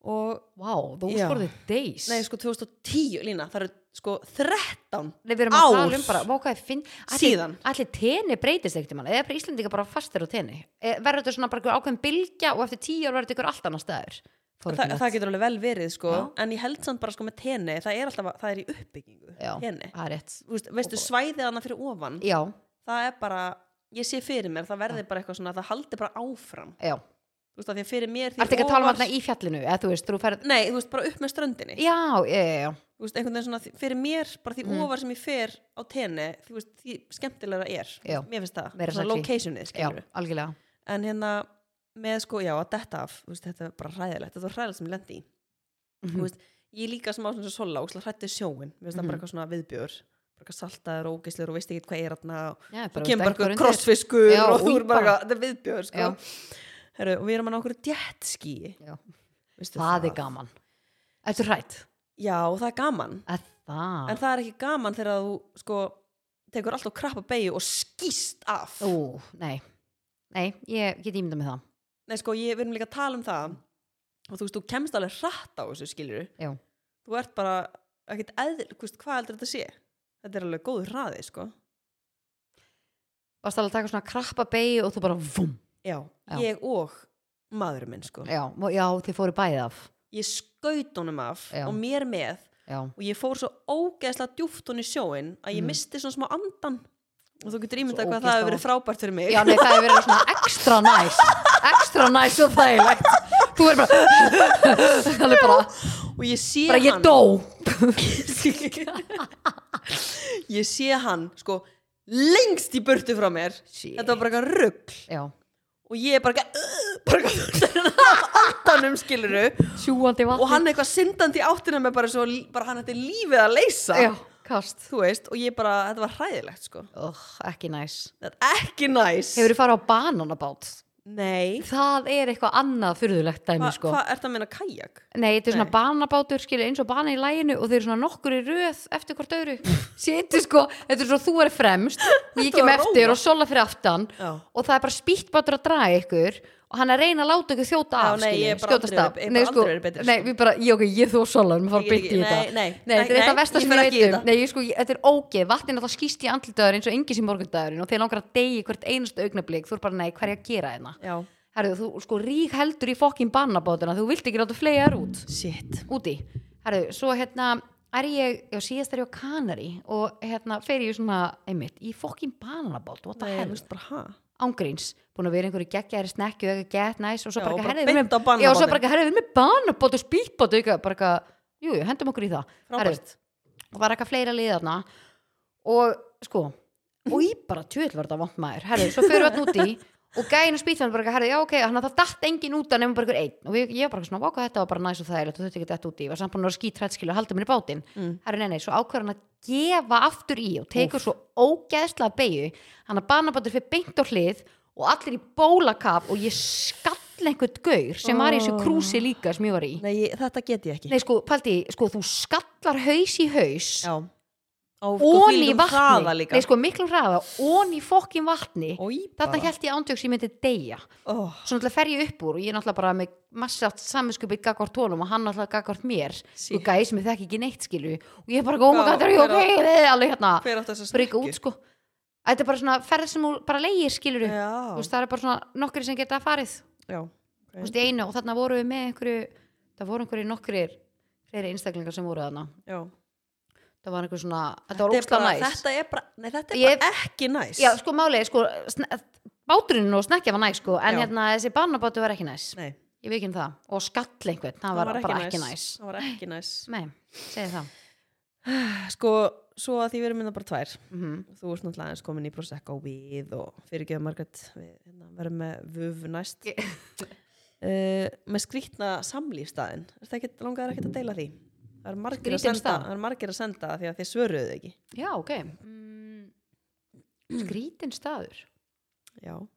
Speaker 2: og
Speaker 1: Vá, þú
Speaker 2: Já.
Speaker 1: skorði days
Speaker 2: nei sko 2010 lína það eru sko 13
Speaker 1: Nei, við erum að
Speaker 2: Ár.
Speaker 1: tala um bara, vá hvað ég finn
Speaker 2: Síðan.
Speaker 1: Allir teni breytist ekkert mann, eða bara Íslendinga bara fastir á teni Eh, Verður þetta svona bara einhver ákveðin bylgja og eftir tíu ár verður þetta ykkur allt annar staður
Speaker 2: Þa,
Speaker 1: Forvitnilegt.
Speaker 2: það getur alveg vel verið sko
Speaker 1: Já.
Speaker 2: en ég held samt bara sko með tenni það er alltaf að, það er í uppbyggingu
Speaker 1: Já,
Speaker 2: tenni
Speaker 1: það er rétt
Speaker 2: Vist, veistu svæðið hana fyrir ofan
Speaker 1: Já,
Speaker 2: það er bara ég sé fyrir mér það verði bara eitthvað svona það haldi bara áfram
Speaker 1: já
Speaker 2: þú veist að því að fyrir mér því
Speaker 1: Ertu ekki að tala um
Speaker 2: ofar-
Speaker 1: þarna í fjallinu, eða þú veist, þú ferð
Speaker 2: nei þú veist bara upp með ströndinni
Speaker 1: Já, já, já, já,
Speaker 2: þú veist einhvern veginn svona því- fyrir mér bara því
Speaker 1: Mm.
Speaker 2: ofar sem ég fer á tenni þú veist því skemmtilegra er
Speaker 1: Já.
Speaker 2: mér finnst það
Speaker 1: Meira
Speaker 2: svona
Speaker 1: sexy.
Speaker 2: locationið
Speaker 1: já,
Speaker 2: skilur
Speaker 1: algjörlega
Speaker 2: en hérna með sko, já, að detta af þú veist, þetta er bara hræðilegt, þetta var hræðilegt sem ég lendi í
Speaker 1: Mhm.
Speaker 2: þú veist, ég er líka smá svona sola og hrætti sjóin, mér finnst það bara eitthvað svona viðbjör bara eitthvað saltaður og ógislur og veist ekki hvað er þarna og
Speaker 1: Já,
Speaker 2: þú
Speaker 1: bara
Speaker 2: kemur bara
Speaker 1: stekkur
Speaker 2: eitthvað
Speaker 1: undir.
Speaker 2: krossfiskur
Speaker 1: Já,
Speaker 2: og þú
Speaker 1: új,
Speaker 2: er bara
Speaker 1: bara.
Speaker 2: eitthvað, þetta er viðbjör sko.
Speaker 1: Já.
Speaker 2: Heru, og við erum hann á okkur djettski
Speaker 1: Já. Það er gaman Ertu hrætt?
Speaker 2: já, það er gaman,
Speaker 1: Að
Speaker 2: en
Speaker 1: það
Speaker 2: það er ekki gaman þegar þú sko, tekur alltaf krabba beigju og skýst af
Speaker 1: Ú, nei Nei, ég get ímynda með það
Speaker 2: Nei, sko, ég verðum líka að tala um það og þú veist, þú kemst alveg hratt á þessu
Speaker 1: Mm.
Speaker 2: skilur
Speaker 1: Já.
Speaker 2: þú ert bara ekkert eðl, þú veist, hvað heldur þetta sé þetta er alveg góður hraði, sko
Speaker 1: Varst alveg að taka svona krappa beigi og þú bara vum
Speaker 2: já,
Speaker 1: Já.
Speaker 2: ég og maðurinn minn, sko
Speaker 1: Já, og- já þið fóru bæðið af
Speaker 2: ég skaut honum af
Speaker 1: Já.
Speaker 2: og mér með
Speaker 1: Já,
Speaker 2: og ég fór svo ógeðslega djúft honum í sjóin að ég
Speaker 1: Mhm.
Speaker 2: misti svona smá andan og þú getur ímyndað
Speaker 1: Svo
Speaker 2: hvað það hefur
Speaker 1: ógeðslega-
Speaker 2: verið frábært fyrir mig
Speaker 1: já nei, það hefur verið svona ekstra næs Ekstra næs og þægilegt Þú verður bara *laughs* Það er bara,
Speaker 2: og ég sé
Speaker 1: bara ég
Speaker 2: hann
Speaker 1: dó
Speaker 2: *laughs* ég sé hann, sko lengst í burtu frá mér
Speaker 1: Shit.
Speaker 2: þetta var bara eitthvað rugg
Speaker 1: Já,
Speaker 2: og ég er bara ekki uh, bara eitthvað áttanum skiluru
Speaker 1: sjúandi vatn
Speaker 2: og hann eitthvað syndandi í áttina með bara, svo, bara hann þetta lífið að leysa
Speaker 1: Já, kast
Speaker 2: þú veist og ég bara, þetta var hræðilegt sko
Speaker 1: oh, Ekki næs
Speaker 2: þetta er ekki næs
Speaker 1: Hefur þið farið á bananabát?
Speaker 2: nei,
Speaker 1: Það er eitthvað annað fyrðulegt dæmi
Speaker 2: hvað
Speaker 1: sko.
Speaker 2: hva er það að meina kajak?
Speaker 1: Nei, þetta er svona
Speaker 2: Nei.
Speaker 1: banabátur skilur eins og bana í læginu og þeir eru svona nokkur í röð eftir hvort öðru *laughs* Sýndu sko, þetta er svo þú er fremst og ég
Speaker 2: Þetta
Speaker 1: kem
Speaker 2: var
Speaker 1: eftir
Speaker 2: róma.
Speaker 1: og sola fyrir aftan
Speaker 2: Já.
Speaker 1: og það er bara spýttbátur að draga ykkur og hann er að reyna að láta ykkur þjóta
Speaker 2: Já,
Speaker 1: af
Speaker 2: nei, ég
Speaker 1: skilur,
Speaker 2: er bara
Speaker 1: skjótast
Speaker 2: aldrei
Speaker 1: af
Speaker 2: verið- ég er
Speaker 1: Nei,
Speaker 2: bara
Speaker 1: sko,
Speaker 2: aldrei verið betri,
Speaker 1: nei,
Speaker 2: sko.
Speaker 1: við bara, ég, okay, ég þú og sola við fara
Speaker 2: Ég-
Speaker 1: beint í
Speaker 2: ég-
Speaker 1: þetta
Speaker 2: nei, nei,
Speaker 1: nei þetta er
Speaker 2: nei,
Speaker 1: eitthvað versta
Speaker 2: ég
Speaker 1: sem
Speaker 2: fer
Speaker 1: við
Speaker 2: ekki í
Speaker 1: veitum
Speaker 2: þetta.
Speaker 1: Nei, ég, sko, ég, þetta er ógeð, vatnin alltaf skýst í andlitaður eins og engin sem morgundagurinn og þeir langar að deyja í hvert einast augnablík, þú er bara, nei, hvað er ég að gera hérna
Speaker 2: já,
Speaker 1: Herðu, þú sko rík heldur í fokkin bannabátuna, þú vilt ekki láta flega þær út
Speaker 2: shit
Speaker 1: úti Herðu, svo hérna er ég, já síðast er ég á Kanari og hérna fer ég svona, einmitt, í fokkin bananabát, what the
Speaker 2: nei, þú
Speaker 1: hell
Speaker 2: veist bara, ha?
Speaker 1: ángríns, búin að vera í einhverju geggjæri snekju eða gett næs og svo
Speaker 2: Já,
Speaker 1: bara,
Speaker 2: og
Speaker 1: eitthvað,
Speaker 2: bara
Speaker 1: herðu, við
Speaker 2: beint á
Speaker 1: erum-
Speaker 2: bananabátinn.
Speaker 1: já, svo bara, eitthvað, herðu, við erum með bananabát og spýtbát auka, bara, eitthvað, jú, jú, hendum okkur í það Herðu,
Speaker 2: frábært
Speaker 1: og var eitthvað fleira lið þarna og sko, og í bara tjöld var þetta vant maður herri, svo fyrir við hann úti og gæin á spýtan bara, herri, já, ok, þannig að það datt engin út að nefnum bara ykkur einn og ég, ég var bara svona, váka, þetta var bara næs og þægilegt og þetta ekki dætt út í, ég var samt búin að skítrætt skilja að halda mér í bátinn,
Speaker 2: Mm.
Speaker 1: herri, nei, nei, svo ákvarðan að gefa aftur í og tekur svo ógeðslega beigju, hann að banabátur fyrir beint á hlið og allir í bólakaf og ég skall einhvern gaur sem var í þessu
Speaker 2: Ó.
Speaker 1: krúsi líka sem ég var í
Speaker 2: Nei, ég, þetta get ég ekki.
Speaker 1: nei, sko, paldi, sko, þú skallar haus í haus
Speaker 2: Já. Á,
Speaker 1: ón í vatni,
Speaker 2: Hraða líka.
Speaker 1: nei, sko, miklum hraða ón í fokkin vatni
Speaker 2: Ói,
Speaker 1: Þarna held ég ándjöks ég myndi deyja
Speaker 2: Oh,
Speaker 1: Svo náttúrulega fer ég upp úr og ég er náttúrulega bara með massjátt saminskupið gagvart honum og hann náttúrulega gagvart mér
Speaker 2: Sí.
Speaker 1: og gæði sem ég þekki ekki neitt skilu og ég er bara "Oh góma
Speaker 2: Hvað-
Speaker 1: gættar og ég
Speaker 2: hver
Speaker 1: ok, þið er alveg hérna
Speaker 2: hver átt þess að
Speaker 1: Brygga út sko Þetta er bara svona ferð sem hún bara leigir skilur upp
Speaker 2: Já.
Speaker 1: og það er bara svona nokkri sem geta farið
Speaker 2: Já.
Speaker 1: Þú veist, í einu og þarna voru við með einhverju það voru einhverju nokkri fleiri einstaklingar sem voru þarna
Speaker 2: Já.
Speaker 1: það var einhver svona, þetta var
Speaker 2: Þetta er
Speaker 1: ógstlega
Speaker 2: bara-
Speaker 1: næs
Speaker 2: Þetta er bara, nei, þetta er
Speaker 1: Ég-
Speaker 2: bara ekki næs.
Speaker 1: Já, sko málið, er, sko sn- báturinn og snakja var næs sko en
Speaker 2: Já.
Speaker 1: hérna þessi bannabátu var ekki næs
Speaker 2: Nei,
Speaker 1: ég veit ekki um það, og skall einhvern það var, bara ekki næs,
Speaker 2: Það var ekki næs.
Speaker 1: nei, segi það
Speaker 2: *sighs* Sko, svo að því við erum minna bara tvær.
Speaker 1: mm
Speaker 2: Þú ert náttúrulega aðeins komin í Prosecco við og fyrirgeðu Margrét, við hérna, verðum með vöfu næst.
Speaker 1: Ég-
Speaker 2: *laughs* Uh, með skrýtna samlífstaðin það ekki, langar ekki að deila því það er margir, að
Speaker 1: Skrýtinn
Speaker 2: senda,
Speaker 1: stað?
Speaker 2: það er margir að senda því að þið svöruðu þau ekki
Speaker 1: já, ok mm, skrítin staður
Speaker 2: já,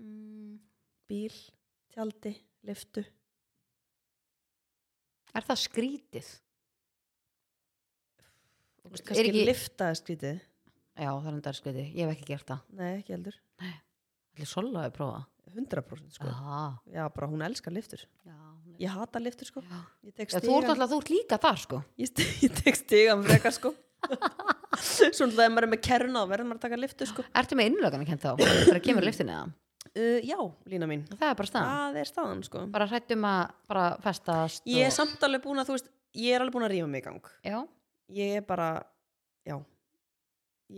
Speaker 1: mm,
Speaker 2: bíl, tjaldi, liftu
Speaker 1: er það skrítið? veist,
Speaker 2: kannski
Speaker 1: er
Speaker 2: ekki...
Speaker 1: ekki-
Speaker 2: lifta er skrítið
Speaker 1: já, það er enda skrítið, ég hef ekki gert það
Speaker 2: nei, ekki heldur,
Speaker 1: allir svolítið að prófa
Speaker 2: 100% sko.
Speaker 1: já,
Speaker 2: já, bara hún elskar liftur
Speaker 1: já, hún er-
Speaker 2: ég hata liftur sko
Speaker 1: já.
Speaker 2: ég tek
Speaker 1: Já, þú ert
Speaker 2: stigann-
Speaker 1: alltaf, þú ert líka þar sko
Speaker 2: ég st- *laughs* ég tek stigan frekar
Speaker 1: *laughs*
Speaker 2: sko svo náttúrulega ef maður er með kerna og verður maður að taka liftu sko
Speaker 1: Ertu með innlögana kent þá? Þegar kemur liftinu eða?
Speaker 2: uh, já, Lína mín,
Speaker 1: Það er bara staðan
Speaker 2: það er staðan sko
Speaker 1: Bara hrættum að bara festast
Speaker 2: ég
Speaker 1: og...
Speaker 2: er samt alveg búin að, þú veist ég er alveg búin að rífa mig í gang
Speaker 1: Já,
Speaker 2: ég er bara, já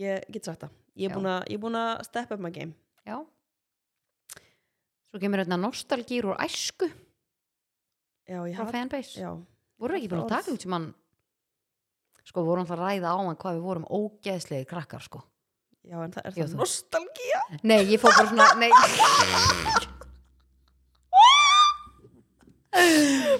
Speaker 2: ég get sagt það ég er
Speaker 1: Já.
Speaker 2: búin að, ég er búin að step up my game
Speaker 1: já Svo kemur hérna nostalgýr úr æsku
Speaker 2: já, ég
Speaker 1: frá
Speaker 2: hata
Speaker 1: fanbase
Speaker 2: já,
Speaker 1: vorum við ekki búin að
Speaker 2: Orð.
Speaker 1: taka út sem hann sko, við vorum alltaf að ræða á hann hvað við vorum ógeðslegir krakkar, sko
Speaker 2: já, en það er
Speaker 1: Já,
Speaker 2: það
Speaker 1: þú-
Speaker 2: nostalgía
Speaker 1: nei, ég fór bara svona,
Speaker 2: *laughs*
Speaker 1: nei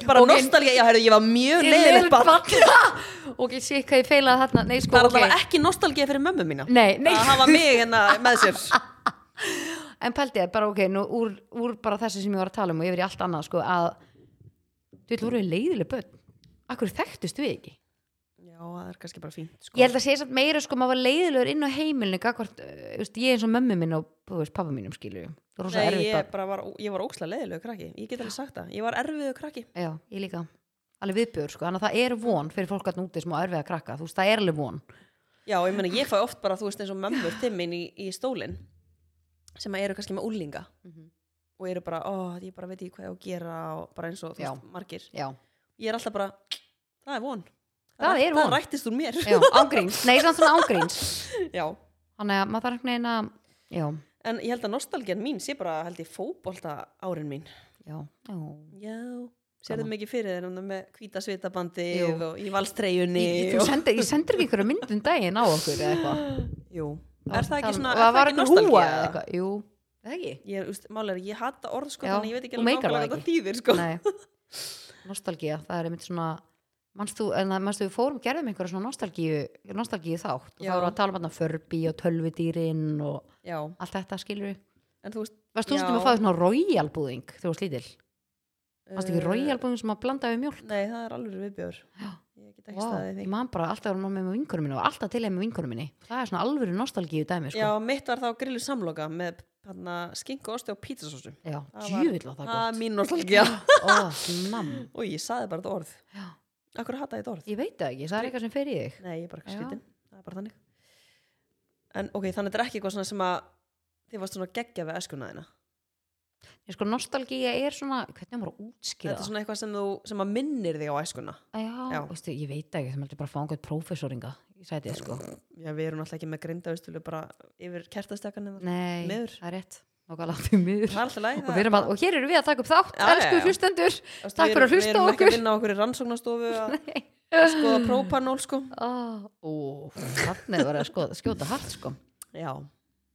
Speaker 2: bara
Speaker 1: Ok.
Speaker 2: nostalgía, já, heyrðu, ég var mjög leiðilegt barn.
Speaker 1: *laughs* barn og ég sé hvað ég feilaði þarna nei,
Speaker 2: það
Speaker 1: sko,
Speaker 2: er
Speaker 1: ok,
Speaker 2: allavega ekki nostalgía fyrir mömmu mína
Speaker 1: nei, nei
Speaker 2: að hafa mig hérna með sér
Speaker 1: *laughs* en pældi ég bara, ok, nú úr, úr bara þessu sem ég var að tala um og yfir í allt annað, sko, að þú veit, voru við leiðileg börn akkur þekktust við ekki
Speaker 2: já, það er kannski bara fínt sko.
Speaker 1: ég held að segja samt meira sko maður var leiðilegur inn á heimilinu gagvart, uh, veist, ég eins og mömmu minn og þú veist, pappa mínum skilju rosa
Speaker 2: Nei,
Speaker 1: erfitt
Speaker 2: ég,
Speaker 1: ég...
Speaker 2: bara var, ég var ókslega leiðilegu krakki ég get alveg sagt það, ég var erfiðu krakki
Speaker 1: já, ég líka alveg viðbjör sko, þannig að það er von fyrir fólk að núti sem á erfið að krakka, þú veist, það er alveg von
Speaker 2: já, ég meina, ég fæ oft bara, þú veist, eins og mömmur þimmin í, í stólinn sem að eru kannski með úlinga og eru bara, ó, ég bara veit ekki hvað ég á að gera og bara eins og, þú
Speaker 1: Já.
Speaker 2: veist, margir
Speaker 1: já,
Speaker 2: ég er alltaf bara, það er von
Speaker 1: Það
Speaker 2: rætt-
Speaker 1: er von.
Speaker 2: það rættist úr mér
Speaker 1: já, ángríns nei, samt svona ángríns
Speaker 2: *laughs* Já.
Speaker 1: þannig að maður þarf einhvern veginn að já,
Speaker 2: en ég held að nostalgjan mín sé bara, held ég, fótbolta árin mín
Speaker 1: já, já
Speaker 2: já, sérðu
Speaker 1: Gaman.
Speaker 2: mikið fyrir þér hérna, með hvíta svitabandi
Speaker 1: Jú.
Speaker 2: og í valstreyjunni
Speaker 1: Ég, þú sendir, ég sendir ekki einhverju myndum daginn á okkur eða eitthvað
Speaker 2: Jú, er það ekki
Speaker 1: og
Speaker 2: svona, er
Speaker 1: það
Speaker 2: það
Speaker 1: var
Speaker 2: ekki
Speaker 1: einhver húa
Speaker 2: nostalgía?
Speaker 1: eða eitthvað, jú, Er það ekki
Speaker 2: Ég, úst, málega, ég hata orð sko,
Speaker 1: Já,
Speaker 2: þannig ég veit ekki
Speaker 1: þú
Speaker 2: alveg
Speaker 1: meikar það
Speaker 2: nákvæmlega hvað það þýðir sko.
Speaker 1: Nei, nostalgía, það er einmitt svona manst þú, en það- manst þú, við fórum gerðum einhverja svona nostalgíu, nostalgíu þátt og
Speaker 2: Já.
Speaker 1: þá voru að tala um þarna förbi og tölvidýrin og
Speaker 2: Já,
Speaker 1: allt þetta skilur við
Speaker 2: en þú veist,
Speaker 1: Varst þú
Speaker 2: Já.
Speaker 1: stundum að fá svona royal búðing þegar þú varst lítil? Varst ekki
Speaker 2: eh,
Speaker 1: royal búðing sem að blanda við mjólk?
Speaker 2: Nei, það er alveg viðbjör.
Speaker 1: Já.
Speaker 2: Ég get ekki
Speaker 1: Vá,
Speaker 2: staðið í því.
Speaker 1: ég man bara alltaf að vera með með vinkunum minni og alltaf til eða með vinkunum minni Það er svona alvöru nostalgíu dæmi sko.
Speaker 2: Já, mitt var þá grillu samloka með hana, skinku, osti og pítsasósu.
Speaker 1: Já
Speaker 2: Það var-
Speaker 1: djúvill var það
Speaker 2: Það er
Speaker 1: gott
Speaker 2: mín nostalgía.
Speaker 1: *laughs* Ó, mann,
Speaker 2: Úi, ég saði bara þetta orð.
Speaker 1: Já.
Speaker 2: Akkur hata ég þetta orð?
Speaker 1: ég veit það ekki, það er eitthvað sem fer í þig
Speaker 2: Nei, ég er bara
Speaker 1: Já.
Speaker 2: skritinn. Það er bara þannig. En ok, þannig þetta er ekki eitthvað svona sem að þið varst svona geggja við eskuna þina.
Speaker 1: Ég sko nostalgía er svona, hvernig á maður að útskýra
Speaker 2: Þetta er svona eitthvað sem, þú, sem að minnir þig á eskuna.
Speaker 1: Já,
Speaker 2: Já.
Speaker 1: Veistu, ég veit það ekki, það meldur bara að fá einhvern prófessoringa í sætið, sko.
Speaker 2: Já, við erum alltaf ekki með grindaustölu bara yfir kertastakan eða.
Speaker 1: Nei,
Speaker 2: Miður.
Speaker 1: það er rétt. Nákvæmlega því miður.
Speaker 2: Það er alltaf læg.
Speaker 1: Og, við erum að, og hér erum við að taka upp þátt,
Speaker 2: Já, já,
Speaker 1: elsku
Speaker 2: já.
Speaker 1: hlustendur.
Speaker 2: Veist,
Speaker 1: Takk
Speaker 2: við
Speaker 1: fyrir að
Speaker 2: erum-
Speaker 1: hlusta á
Speaker 2: Við erum ekki
Speaker 1: okkur.
Speaker 2: að vinna á okkur í rannsóknastofu að
Speaker 1: *laughs*
Speaker 2: skoða própanól sko.
Speaker 1: sko. Ó, þannig var að skoða, skjóta hart, sko.
Speaker 2: Já,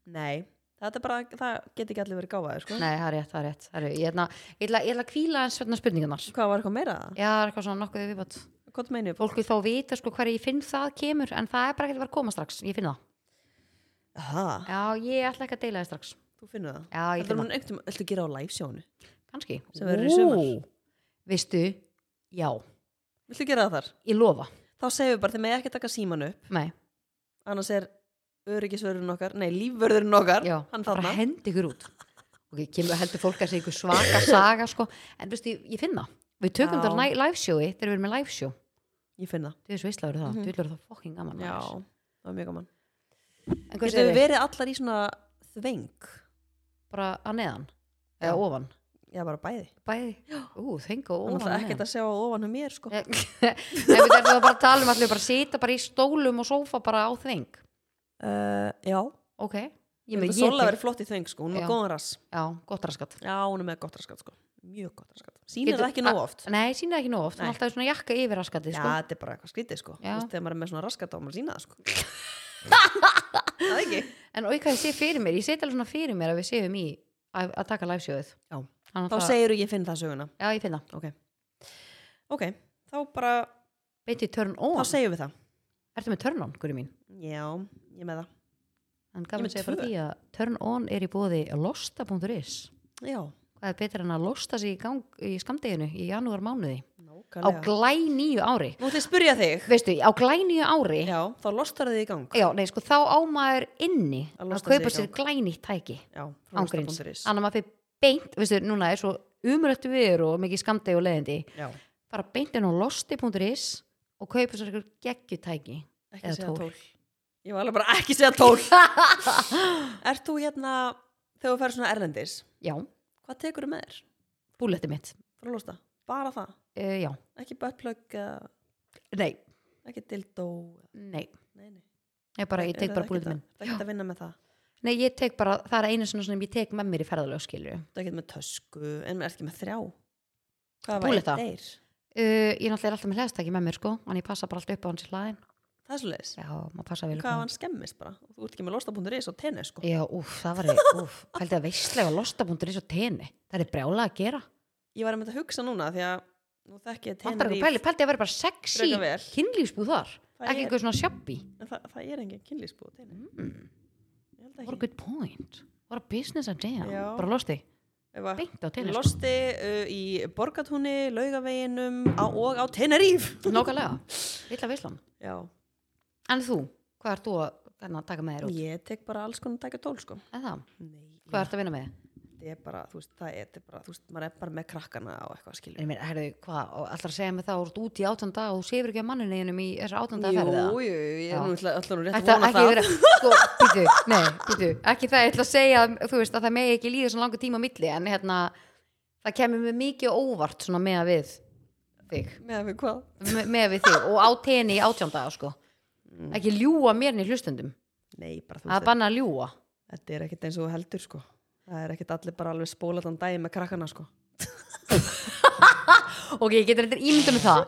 Speaker 2: nei. þetta er bara, það geti ekki allir verið gáfaði sko.
Speaker 1: Nei, það er rétt, það er rétt. Heru, ég ætla- ég ætla ég ætla að kvíla eins vegna spurningarnar.
Speaker 2: hvað var eitthvað meira það?
Speaker 1: Já, það er eitthvað svona nokkuð við viðbátt.
Speaker 2: hvað meinu?
Speaker 1: Fólk vil þá vita sko hverju ég finn það kemur, en það er bara ekkert að vera að koma strax. Ég finn það.
Speaker 2: Aha,
Speaker 1: Já, ég ætla ekki að deila það strax.
Speaker 2: þú finnur það
Speaker 1: Já, ég
Speaker 2: Þetta er
Speaker 1: finn það.
Speaker 2: hún einhvern veginn, ættu að gera á live sjónu
Speaker 1: Kanski.
Speaker 2: sem verður í sumar.
Speaker 1: Vistu, já,
Speaker 2: Viltu gera það þar?
Speaker 1: ég lofa.
Speaker 2: Þá segjum við bara, þeir megi ekki taka síman upp
Speaker 1: Nei,
Speaker 2: annars er öryggisvörðurinn okkar nei, lífvörðurinn okkar,
Speaker 1: já,
Speaker 2: hann
Speaker 1: bara
Speaker 2: þarna
Speaker 1: hendi ykkur út. Ok, kemur heldur fólk að segja ykkur svaka saga sko, en veistu, ég, ég finn það. Við tökum
Speaker 2: Já.
Speaker 1: það live showi þegar við erum með live show.
Speaker 2: ég finn það,
Speaker 1: Þú veist veistlega verður það,
Speaker 2: Mhm.
Speaker 1: þú veist verður það fucking gaman.
Speaker 2: já,
Speaker 1: maður.
Speaker 2: það var mjög gaman
Speaker 1: En hvað
Speaker 2: getum
Speaker 1: segir
Speaker 2: við
Speaker 1: þið?
Speaker 2: verið allar í svona þveng
Speaker 1: Bara að neðan?
Speaker 2: Já.
Speaker 1: Eða ofan?
Speaker 2: já, bara bæði,
Speaker 1: Bæði? Ú, þengu og
Speaker 2: hann
Speaker 1: ofan
Speaker 2: ætlaði
Speaker 1: og
Speaker 2: ekkert
Speaker 1: *laughs* neðan.
Speaker 2: að sjá ofan hjá mér sko.
Speaker 1: Nei, við erum það bara að tala um allir bara sita bara í stólum og sófa bara á þeng.
Speaker 2: Uh, já,
Speaker 1: Ok.
Speaker 2: ég myndi Sola verið flott í þveng sko, hún er
Speaker 1: Já.
Speaker 2: með góðan rass
Speaker 1: Já, gott raskat.
Speaker 2: já, hún er með gott raskat sko, mjög gott raskat sýnir
Speaker 1: Getur-
Speaker 2: það ekki nóg oft já,
Speaker 1: Nei, sína það ekki nóg oft,
Speaker 2: Nei.
Speaker 1: hann alltaf er svona jakka yfir raskatið, sko.
Speaker 2: þetta er bara eitthvað skrítið sko
Speaker 1: Já.
Speaker 2: Þú veist, þegar maður er með svona raskat á maður að sýna *laughs* það sko það er ekki
Speaker 1: En og eitthvað ég sé fyrir mér, ég seti alveg svona fyrir mér að við séum í að, að taka livesjóðið.
Speaker 2: Já.
Speaker 1: Þannig
Speaker 2: þá
Speaker 1: að það-
Speaker 2: segir þú ég finn það söguna
Speaker 1: Já, ég finn það.
Speaker 2: ok, þá bara,
Speaker 1: Beint í turn
Speaker 2: þá
Speaker 1: on.
Speaker 2: segjum við það
Speaker 1: Ertu með turn on, guri mín?
Speaker 2: já, ég er með það
Speaker 1: En gaman
Speaker 2: með
Speaker 1: segja bara
Speaker 2: tvö.
Speaker 1: því að turn on er í bóði losta.is.
Speaker 2: já,
Speaker 1: Hvað er betur en að losta sig í gang í skamdeginu í janúar mánuði? á
Speaker 2: nákvæmlega
Speaker 1: glæ nýju ári
Speaker 2: nú ætlum ég að spyrja þig
Speaker 1: veistu, á glæ nýju ári já.
Speaker 2: já, þá lostar þig í gang
Speaker 1: nei, sko, þá á maður inni
Speaker 2: Að
Speaker 1: að,
Speaker 2: losta
Speaker 1: kaupa
Speaker 2: sig í
Speaker 1: sér glæ nýtt tæki
Speaker 2: já, frá
Speaker 1: ángríns,
Speaker 2: losta.is.
Speaker 1: annar maður fyrir beint veistu, núna er svo umrætt viður og mikið skamdeg og leðindi,
Speaker 2: já,
Speaker 1: bara beint inn á losti.is og kaupa sér eitthvað geggjutæki
Speaker 2: ekki
Speaker 1: Eða
Speaker 2: segja
Speaker 1: tól.
Speaker 2: tól ég var alveg bara ekki segja tól
Speaker 1: *laughs*
Speaker 2: ert þú hérna þegar þú ferð svona erlendis
Speaker 1: já,
Speaker 2: hvað tekur þú með þér
Speaker 1: búletti mitt
Speaker 2: frá losta, bara það,
Speaker 1: uh, já,
Speaker 2: ekki buttplug eða
Speaker 1: nei,
Speaker 2: ekki dildó
Speaker 1: nei
Speaker 2: nei, nei.
Speaker 1: ég, bara,
Speaker 2: Nei,
Speaker 1: ég tek
Speaker 2: eru
Speaker 1: bara
Speaker 2: það
Speaker 1: búletti
Speaker 2: ekkert
Speaker 1: minn
Speaker 2: að- það er ekki að vinna með það
Speaker 1: nei, ég tek bara, það er einu svona sem ég tek með mér í ferðalög skilju uh,
Speaker 2: það er ekki með tösku, en er ekki með þrjá hvað var
Speaker 1: Búlletta.
Speaker 2: eitt deyr
Speaker 1: Eh, ég náttúrulega er alltaf með hlæðstæki með mér sko, en ég passa bara alltaf upp á hans í hlaðin
Speaker 2: það er svoleiðis,
Speaker 1: já, maður passa vel upp á
Speaker 2: hvað ef hann skemmist bara og þú ert ekki með losta.is og tenni sko
Speaker 1: Já, úf, það var ég, úf, held ég að veistlega losta.is og tenni, það er brjála að gera
Speaker 2: ég var að mynda að hugsa núna því að nú þekki ég
Speaker 1: Vantar
Speaker 2: tenni
Speaker 1: eitthvað pæli, pældi að vera bara sexy
Speaker 2: Frekar vel.
Speaker 1: kynlífsbúð þar,
Speaker 2: Það
Speaker 1: ekki
Speaker 2: er-
Speaker 1: eitthvað svona sjabbi
Speaker 2: En það, það er engin kynlýsbúð til
Speaker 1: mm,
Speaker 2: Ég held
Speaker 1: What a
Speaker 2: ekki.
Speaker 1: good point What a business idea,
Speaker 2: Já.
Speaker 1: bara losti
Speaker 2: Ef að-
Speaker 1: beint á tenni, sko.
Speaker 2: Losti uh, í Borgatúni, Laugaveginum á, og á Teneríf.
Speaker 1: nákvæmlega Lilla veislan,
Speaker 2: *laughs* Já.
Speaker 1: en þú, hvað ert þú að þarna, taka með þér út?
Speaker 2: Ég tek bara alls konar tækja tól, sko.
Speaker 1: En það,
Speaker 2: Nei.
Speaker 1: hvað ertu að vinna með?
Speaker 2: Þetta er bara, þú veist, það er, þetta er bara, þú veist, maður er bara með krakkana á eitthvað, skilur.
Speaker 1: En ég meina, herðu, hvað, og alltaf að segja mig það, þú ert út í átján dag og þú sefur ekki að manninu einum í þessu átján dag
Speaker 2: jú,
Speaker 1: ferða
Speaker 2: jú, ég er
Speaker 1: Já.
Speaker 2: nú alltaf nú rétt
Speaker 1: Ætla,
Speaker 2: að vona
Speaker 1: ekki
Speaker 2: það.
Speaker 1: vera, sko, býtu, nei, býtu, ekki það, ég ætla að segja, þú veist, að það megi ekki líða svona langa tíma á milli, en hérna, það kemur mér mikið á óvart svona með að við þig,
Speaker 2: Með að við hvað?
Speaker 1: me, með að við þig og á teni í átjándaga, sko,
Speaker 2: Mm.
Speaker 1: ekki ljúa mér í hlustundum,
Speaker 2: Nei, bara, þú
Speaker 1: að
Speaker 2: veist,
Speaker 1: banna að ljúa,
Speaker 2: þetta er ekkit eins og þú heldur, sko. Það er ekkit allir bara alveg spólaðan dagi með krakkana, sko.
Speaker 1: ok, ég getur eitthvað ímyndum það,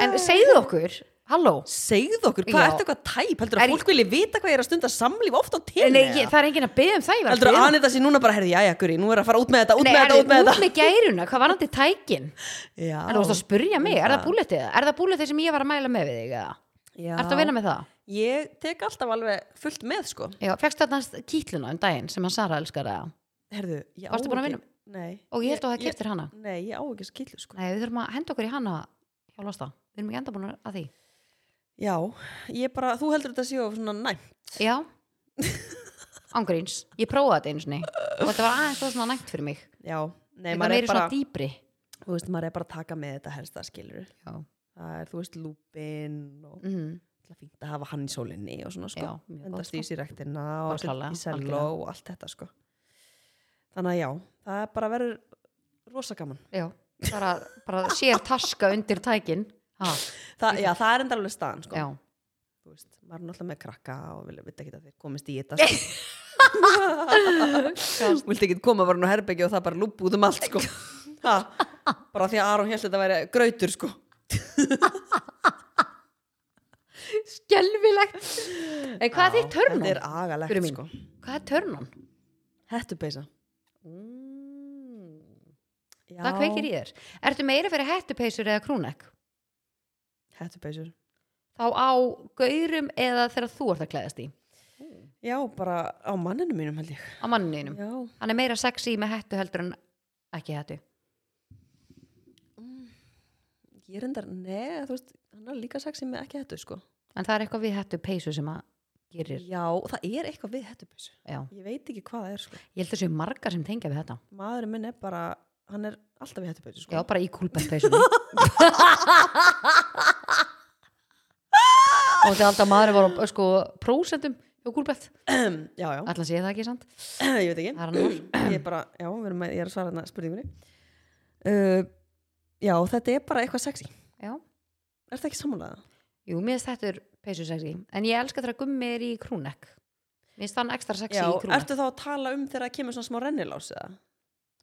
Speaker 1: en segðu okkur, halló,
Speaker 2: Segð okkur,
Speaker 1: Já.
Speaker 2: hvað ertu eitthvað tæp? Heldur
Speaker 1: Er
Speaker 2: að
Speaker 1: ég-
Speaker 2: fólk vilji vita hvað ég er að stunda samlíf oft á
Speaker 1: en,
Speaker 2: tenni?
Speaker 1: ég, það er enginn að beða um það, ég var
Speaker 2: Heldur að
Speaker 1: biðja um-
Speaker 2: Anita sé núna bara, herði, jæja, Guri, nú er að fara út með þetta, út
Speaker 1: Nei,
Speaker 2: með þetta,
Speaker 1: herðu,
Speaker 2: út með
Speaker 1: út með gæruna, hvað var hann til tækin? En þú varst að
Speaker 2: þetta.
Speaker 1: spyrja mig, er það
Speaker 2: Það.
Speaker 1: búletið? Er það búletið sem ég var að mæla með við þig? eða?
Speaker 2: Já,
Speaker 1: Ertu að vinna með það?
Speaker 2: Ég tek alltaf alveg fullt með, sko.
Speaker 1: Já, fegstu þarna kýtluna um daginn sem hann Sara elskar það
Speaker 2: Herðu, ég á
Speaker 1: Varstu búin að vinna?
Speaker 2: Nei.
Speaker 1: og ég held að það keftir hana
Speaker 2: ég- Nei, ég á ekki þessa kýtlu, sko.
Speaker 1: Nei, við þurfum að henda okkur í hana hjá Losta, við erum ekki enda búin að því
Speaker 2: Já, ég bara, þú heldur þetta séu of svona næmt.
Speaker 1: Já
Speaker 2: *laughs*
Speaker 1: Ángríns, ég prófaði þetta einu sinni og þetta var aðeins það svona nægt fyrir mig
Speaker 2: Já,
Speaker 1: Nei,
Speaker 2: nei, maður er,
Speaker 1: meiri
Speaker 2: bara,
Speaker 1: svona dýpri
Speaker 2: þú veist, maður er bara að taka með þetta helsta, skilur.
Speaker 1: Já,
Speaker 2: Það er, þú veist, lúpin og
Speaker 1: mm
Speaker 2: það er fínt að hafa hann í sólinni og svona, sko.
Speaker 1: já mjög
Speaker 2: enda
Speaker 1: gott sko.
Speaker 2: stýs í rektina
Speaker 1: Bara
Speaker 2: og setja
Speaker 1: klárlega,
Speaker 2: í selló
Speaker 1: algjörlega.
Speaker 2: og allt þetta sko þannig að já, það er bara verður rosa gaman
Speaker 1: Já, bara, bara sér taska undir tækin ha,
Speaker 2: Þa, já, það er enda alveg staðan sko
Speaker 1: Já,
Speaker 2: Þú veist, maður er náttúrulega með krakka og vilja vita ekki að þeir komist í
Speaker 1: *laughs*
Speaker 2: þetta sko. vildi ekki koma bara nú herbyggi og það bara lúb út um
Speaker 1: *laughs*
Speaker 2: allt sko ha, bara því að Aron held að þetta væri grautur sko
Speaker 1: skelfilegt En hvað er
Speaker 2: Já,
Speaker 1: þitt törnum?
Speaker 2: þetta er agalegt
Speaker 1: Fyrir mín.
Speaker 2: sko
Speaker 1: Hvað er törnum?
Speaker 2: Hettupeysa.
Speaker 1: Mm.
Speaker 2: Já,
Speaker 1: Það kveikir í þér. Ertu meira fyrir hættupeysur eða krúnekk?
Speaker 2: Hettupeysur.
Speaker 1: Þá á gaurum eða þegar þú ert að klæðast í?
Speaker 2: Já, bara á manninu mínum held ég.
Speaker 1: Á manninum.
Speaker 2: Já.
Speaker 1: Hann er meira sexy með hættu heldur en ekki hættu.
Speaker 2: Ég er endar, neða, þú veist, hann er líka sexy með ekki hettu, sko.
Speaker 1: En það er eitthvað við hættupeysu sem að gerir.
Speaker 2: Já, það er eitthvað við hettupeysu.
Speaker 1: Já.
Speaker 2: Ég veit ekki hvað það er, sko.
Speaker 1: Ég held að séu margar sem tengja við þetta.
Speaker 2: Maðurinn minn er bara, hann er alltaf við
Speaker 1: Já,
Speaker 2: hettupeysu, sko.
Speaker 1: bara í
Speaker 2: *laughs*
Speaker 1: kúlbentpeysunum. Og þetta er alltaf maður var á sko, prósentum hjá kúlbent.
Speaker 2: já, já.
Speaker 1: Ætla sé það ekki, sant?
Speaker 2: *clears throat* ég veit ekki.
Speaker 1: Það er hann mál.
Speaker 2: ég er bara, já, við erum að, ég er að svara þarna spurningunni uh, já, þetta er bara eitthvað sexy
Speaker 1: Já.
Speaker 2: er það ekki sammálaða?
Speaker 1: Jú, mér finnst þetta er peysu sexy. En ég elska þegar gummi er í krúnekk. Mér finnst þann ekstra sexy
Speaker 2: já,
Speaker 1: í krúnekk.
Speaker 2: ertu þá að tala um þegar það kemur svona smá rennilás eða?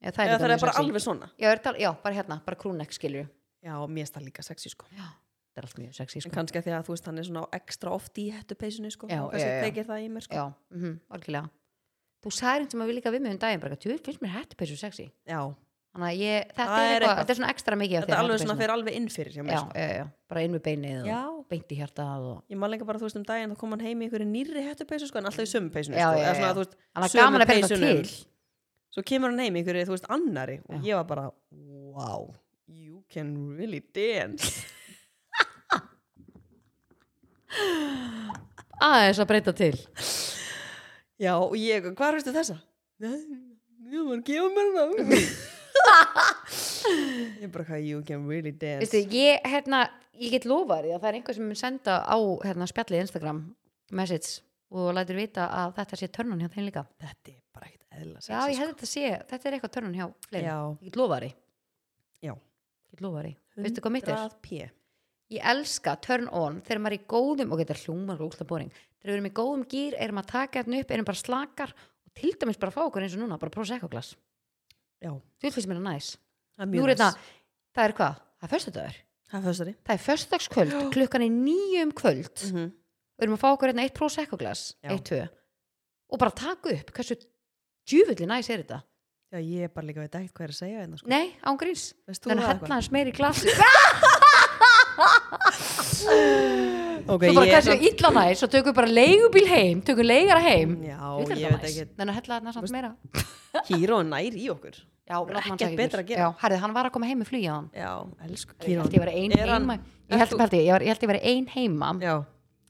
Speaker 1: Já, það er,
Speaker 2: eða
Speaker 1: líka
Speaker 2: það
Speaker 1: mjög
Speaker 2: er bara
Speaker 1: sexy.
Speaker 2: alveg svona
Speaker 1: Já, er tal, já, bara hérna, bara krúnekk skilju.
Speaker 2: já, mér er það líka sexy sko
Speaker 1: Já, þetta er allt mjög sexy,
Speaker 2: en
Speaker 1: sko.
Speaker 2: kannski að því að þú veist hann er svona ekstra oft í hættu peysinu sko
Speaker 1: Já,
Speaker 2: og kannski
Speaker 1: já, já.
Speaker 2: tekið það í mér sko
Speaker 1: Já, mhm, algjörlega. Þú sagði eins og maður líka við mig um daginn, bara, þú finnst mér hættu peysu sexy.
Speaker 2: já.
Speaker 1: Þannig að ég, þetta
Speaker 2: Það
Speaker 1: er
Speaker 2: er
Speaker 1: eitthvað,
Speaker 2: eitthvað.
Speaker 1: þetta er svona ekstra mikið af
Speaker 2: þetta er
Speaker 1: þér,
Speaker 2: alveg svona
Speaker 1: hættupeysurnar.
Speaker 2: fyrir alveg innfyrir hjá mér
Speaker 1: já, já, já, bara inn við beinið
Speaker 2: sko já,
Speaker 1: og beint í hjartað og
Speaker 2: ég man lengi bara, þú veist, um daginn þá kom hann heim í einhverju nýrri hættupeysu sko, en alltaf í sömu peysinu
Speaker 1: Já, já,
Speaker 2: sko, eða
Speaker 1: já.
Speaker 2: svona, þú veist,
Speaker 1: hann er
Speaker 2: sömu
Speaker 1: gaman að finna
Speaker 2: peysunum.
Speaker 1: til
Speaker 2: svo kemur hann heim í einhverju, þú veist, annari og
Speaker 1: Já.
Speaker 2: ég var bara, wow you can really dance
Speaker 1: aðeins að breyta til
Speaker 2: já, og ég, hvað veistu þessa? ég var að gefa mér hana ég bara, hvað, you can really dance
Speaker 1: Vistu, ég, hérna, ég get lofað því að það er einhver sem mun senda á hérna, spjallið Instagram message og lætur vita að þetta sé törnun hjá þeim líka
Speaker 2: þetta er bara ekkert eðla
Speaker 1: já, ég held að þetta sé, þetta er eitthvað törnun hjá fleiri,
Speaker 2: sko. já,
Speaker 1: ég get lofað því
Speaker 2: Já.
Speaker 1: ég get lofað því, veistu hvað mitt er?
Speaker 2: 100p.
Speaker 1: ég elska turn on þegar maður er í góðum og þetta er hljómar og úsla boring þegar við erum í góðum gýr, erum að taka hérna upp erum bara slakar og til dæmis bara að fá okkur eins og núna bara prósa eitthvað glas
Speaker 2: Já.
Speaker 1: þú finnst mér það næs
Speaker 2: það er
Speaker 1: Nú
Speaker 2: mjög
Speaker 1: er þetta,
Speaker 2: næs.
Speaker 1: það er hvað? það er föstudagur,
Speaker 2: það er föstari
Speaker 1: það er
Speaker 2: *gasps*
Speaker 1: föstudagskvöld klukkan er níu um kvöld
Speaker 2: Mhm.
Speaker 1: við erum að fá okkur hérna eitt prósa eitthvað glas
Speaker 2: Já.
Speaker 1: eitt tvö og bara taka upp hversu djúvulli næs er þetta
Speaker 2: já, ég er bara líka veit ekkert hvað er að segja hérna sko.
Speaker 1: nei, hérna án gríns
Speaker 2: veist þú
Speaker 1: þannig að
Speaker 2: það
Speaker 1: hella
Speaker 2: eitthvað?
Speaker 1: hans meir í glas
Speaker 2: *laughs* ok,
Speaker 1: svo bara
Speaker 2: ég er
Speaker 1: hversu illa næs og tökum bara leigubíl heim tökum leigara heim
Speaker 2: samt- já,
Speaker 1: Ég vil
Speaker 2: ég
Speaker 1: þetta
Speaker 2: veit
Speaker 1: næs.
Speaker 2: ekki
Speaker 1: Þannig að hella þarna samt meira
Speaker 2: Híró nær í okkur
Speaker 1: Já, látum hann
Speaker 2: ekkert
Speaker 1: taka ykkur.
Speaker 2: betra að gera.
Speaker 1: Já, herrið, hann var að koma heim í flýja hann
Speaker 2: já, elsku
Speaker 1: Ég
Speaker 2: Kírón
Speaker 1: held ég verið ein
Speaker 2: Er hann-
Speaker 1: heima
Speaker 2: ert
Speaker 1: Ég held,
Speaker 2: þú-
Speaker 1: held, ég, ég var- ég held ég verið ein heima
Speaker 2: já,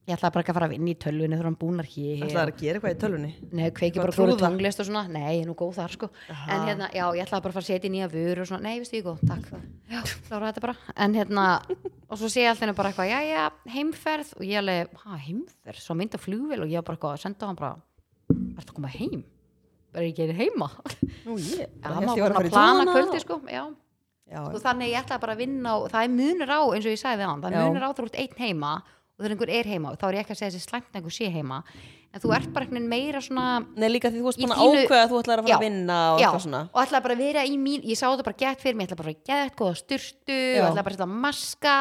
Speaker 1: Ég ætlaði bara ekki að fara að vinna í tölvunni þegar hann búnar hér
Speaker 2: Það er að gera eitthvað í tölvunni
Speaker 1: Nei, kveiki bara
Speaker 2: Bara
Speaker 1: góru
Speaker 2: trúða.
Speaker 1: tónglist og svona Nei, ég er nú góð þar sko En hérna, já, ég ætlaði bara að fara að setja í nýja vöru og svona Nei, veistu ég er góð, takk Já, klára þetta bara En hérna, og svo sé ég alltaf bara eitthvað Jæja, heimferð Og ég alveg, hæ, heimferð? Svo mynda flugvél og ég var bara eitthvað að senda hann bara Ertu að koma heim? Bara ég gerir heima
Speaker 2: Nú ég,
Speaker 1: Já,
Speaker 2: bara
Speaker 1: hann
Speaker 2: hélt
Speaker 1: var
Speaker 2: ég var
Speaker 1: bara að
Speaker 2: að fara í
Speaker 1: plana
Speaker 2: trúðana
Speaker 1: kvöldi sko, já.
Speaker 2: Já,
Speaker 1: Sko, þannig ég ætlaði bara að vinna og það er munur á, eins og ég sagði við hann það er
Speaker 2: Já.
Speaker 1: munur á þegar þú ert einn heima og þegar einhver er heima, þá er ég ekki að segja þessi slæmt að einhver sé heima, en þú ert bara einhvern veginn meira svona,
Speaker 2: Nei líka því þú varst
Speaker 1: Í
Speaker 2: búin að
Speaker 1: þínu-
Speaker 2: ákveða að þú ætlar að fara
Speaker 1: Já,
Speaker 2: að vinna og
Speaker 1: já,
Speaker 2: eitthvað svona
Speaker 1: og ætlaði bara að vera í mín ég sá þetta bara gett fyrir mig, ég ætlaði bara að gett góða styrtu,
Speaker 2: Já.
Speaker 1: og ætlaði bara að setja maska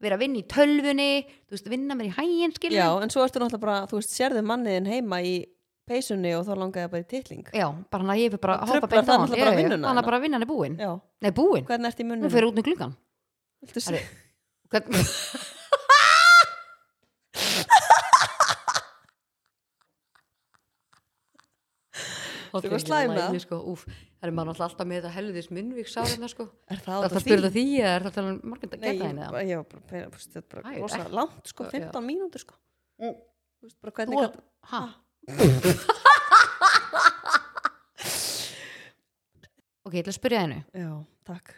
Speaker 1: vera að vinna í tölvunni þú veist, vinna mér í hæginn, skilur
Speaker 2: Já, en svo ertu náttúrulega bara, þú veist, sérðu manniðin heima í peysunni og þá langaði það bara í titling
Speaker 1: Já, bara hann að ég er bara
Speaker 2: Og
Speaker 1: að hoppa
Speaker 2: truflar
Speaker 1: beint á
Speaker 2: það
Speaker 1: hann
Speaker 2: náttúrulega
Speaker 1: Já,
Speaker 2: bara
Speaker 1: já,
Speaker 2: vinnuna
Speaker 1: hann
Speaker 2: hennar.
Speaker 1: að bara vinnan er búin,
Speaker 2: Já,
Speaker 1: nei búin,
Speaker 2: hvernig ertu í munnum?
Speaker 1: hún fyrir út um með gluggan
Speaker 2: Viltu
Speaker 1: Herri.
Speaker 2: segja?
Speaker 1: Hvern...
Speaker 2: Ertu eitthvað slæm, eða?
Speaker 1: sko, úf, það er maður náttúrulega alltaf með þetta helviðis munnvík sáðina sko
Speaker 2: *laughs* Er
Speaker 1: Það er
Speaker 2: það út
Speaker 1: það
Speaker 2: af
Speaker 1: að
Speaker 2: því?
Speaker 1: spyrja því eða er það að tala um margum að
Speaker 2: Nei,
Speaker 1: geta
Speaker 2: ég
Speaker 1: henni
Speaker 2: bara- ég var bara, pæla- þú veist, þetta er
Speaker 1: Æ,
Speaker 2: bara rosa
Speaker 1: er-
Speaker 2: langt sko,
Speaker 1: Já.
Speaker 2: 15 mínútur sko
Speaker 1: Mm.
Speaker 2: Þú veist bara hvernig gat-
Speaker 1: Hæ? Ok, ég ætla að spyrja henni
Speaker 2: Já, takk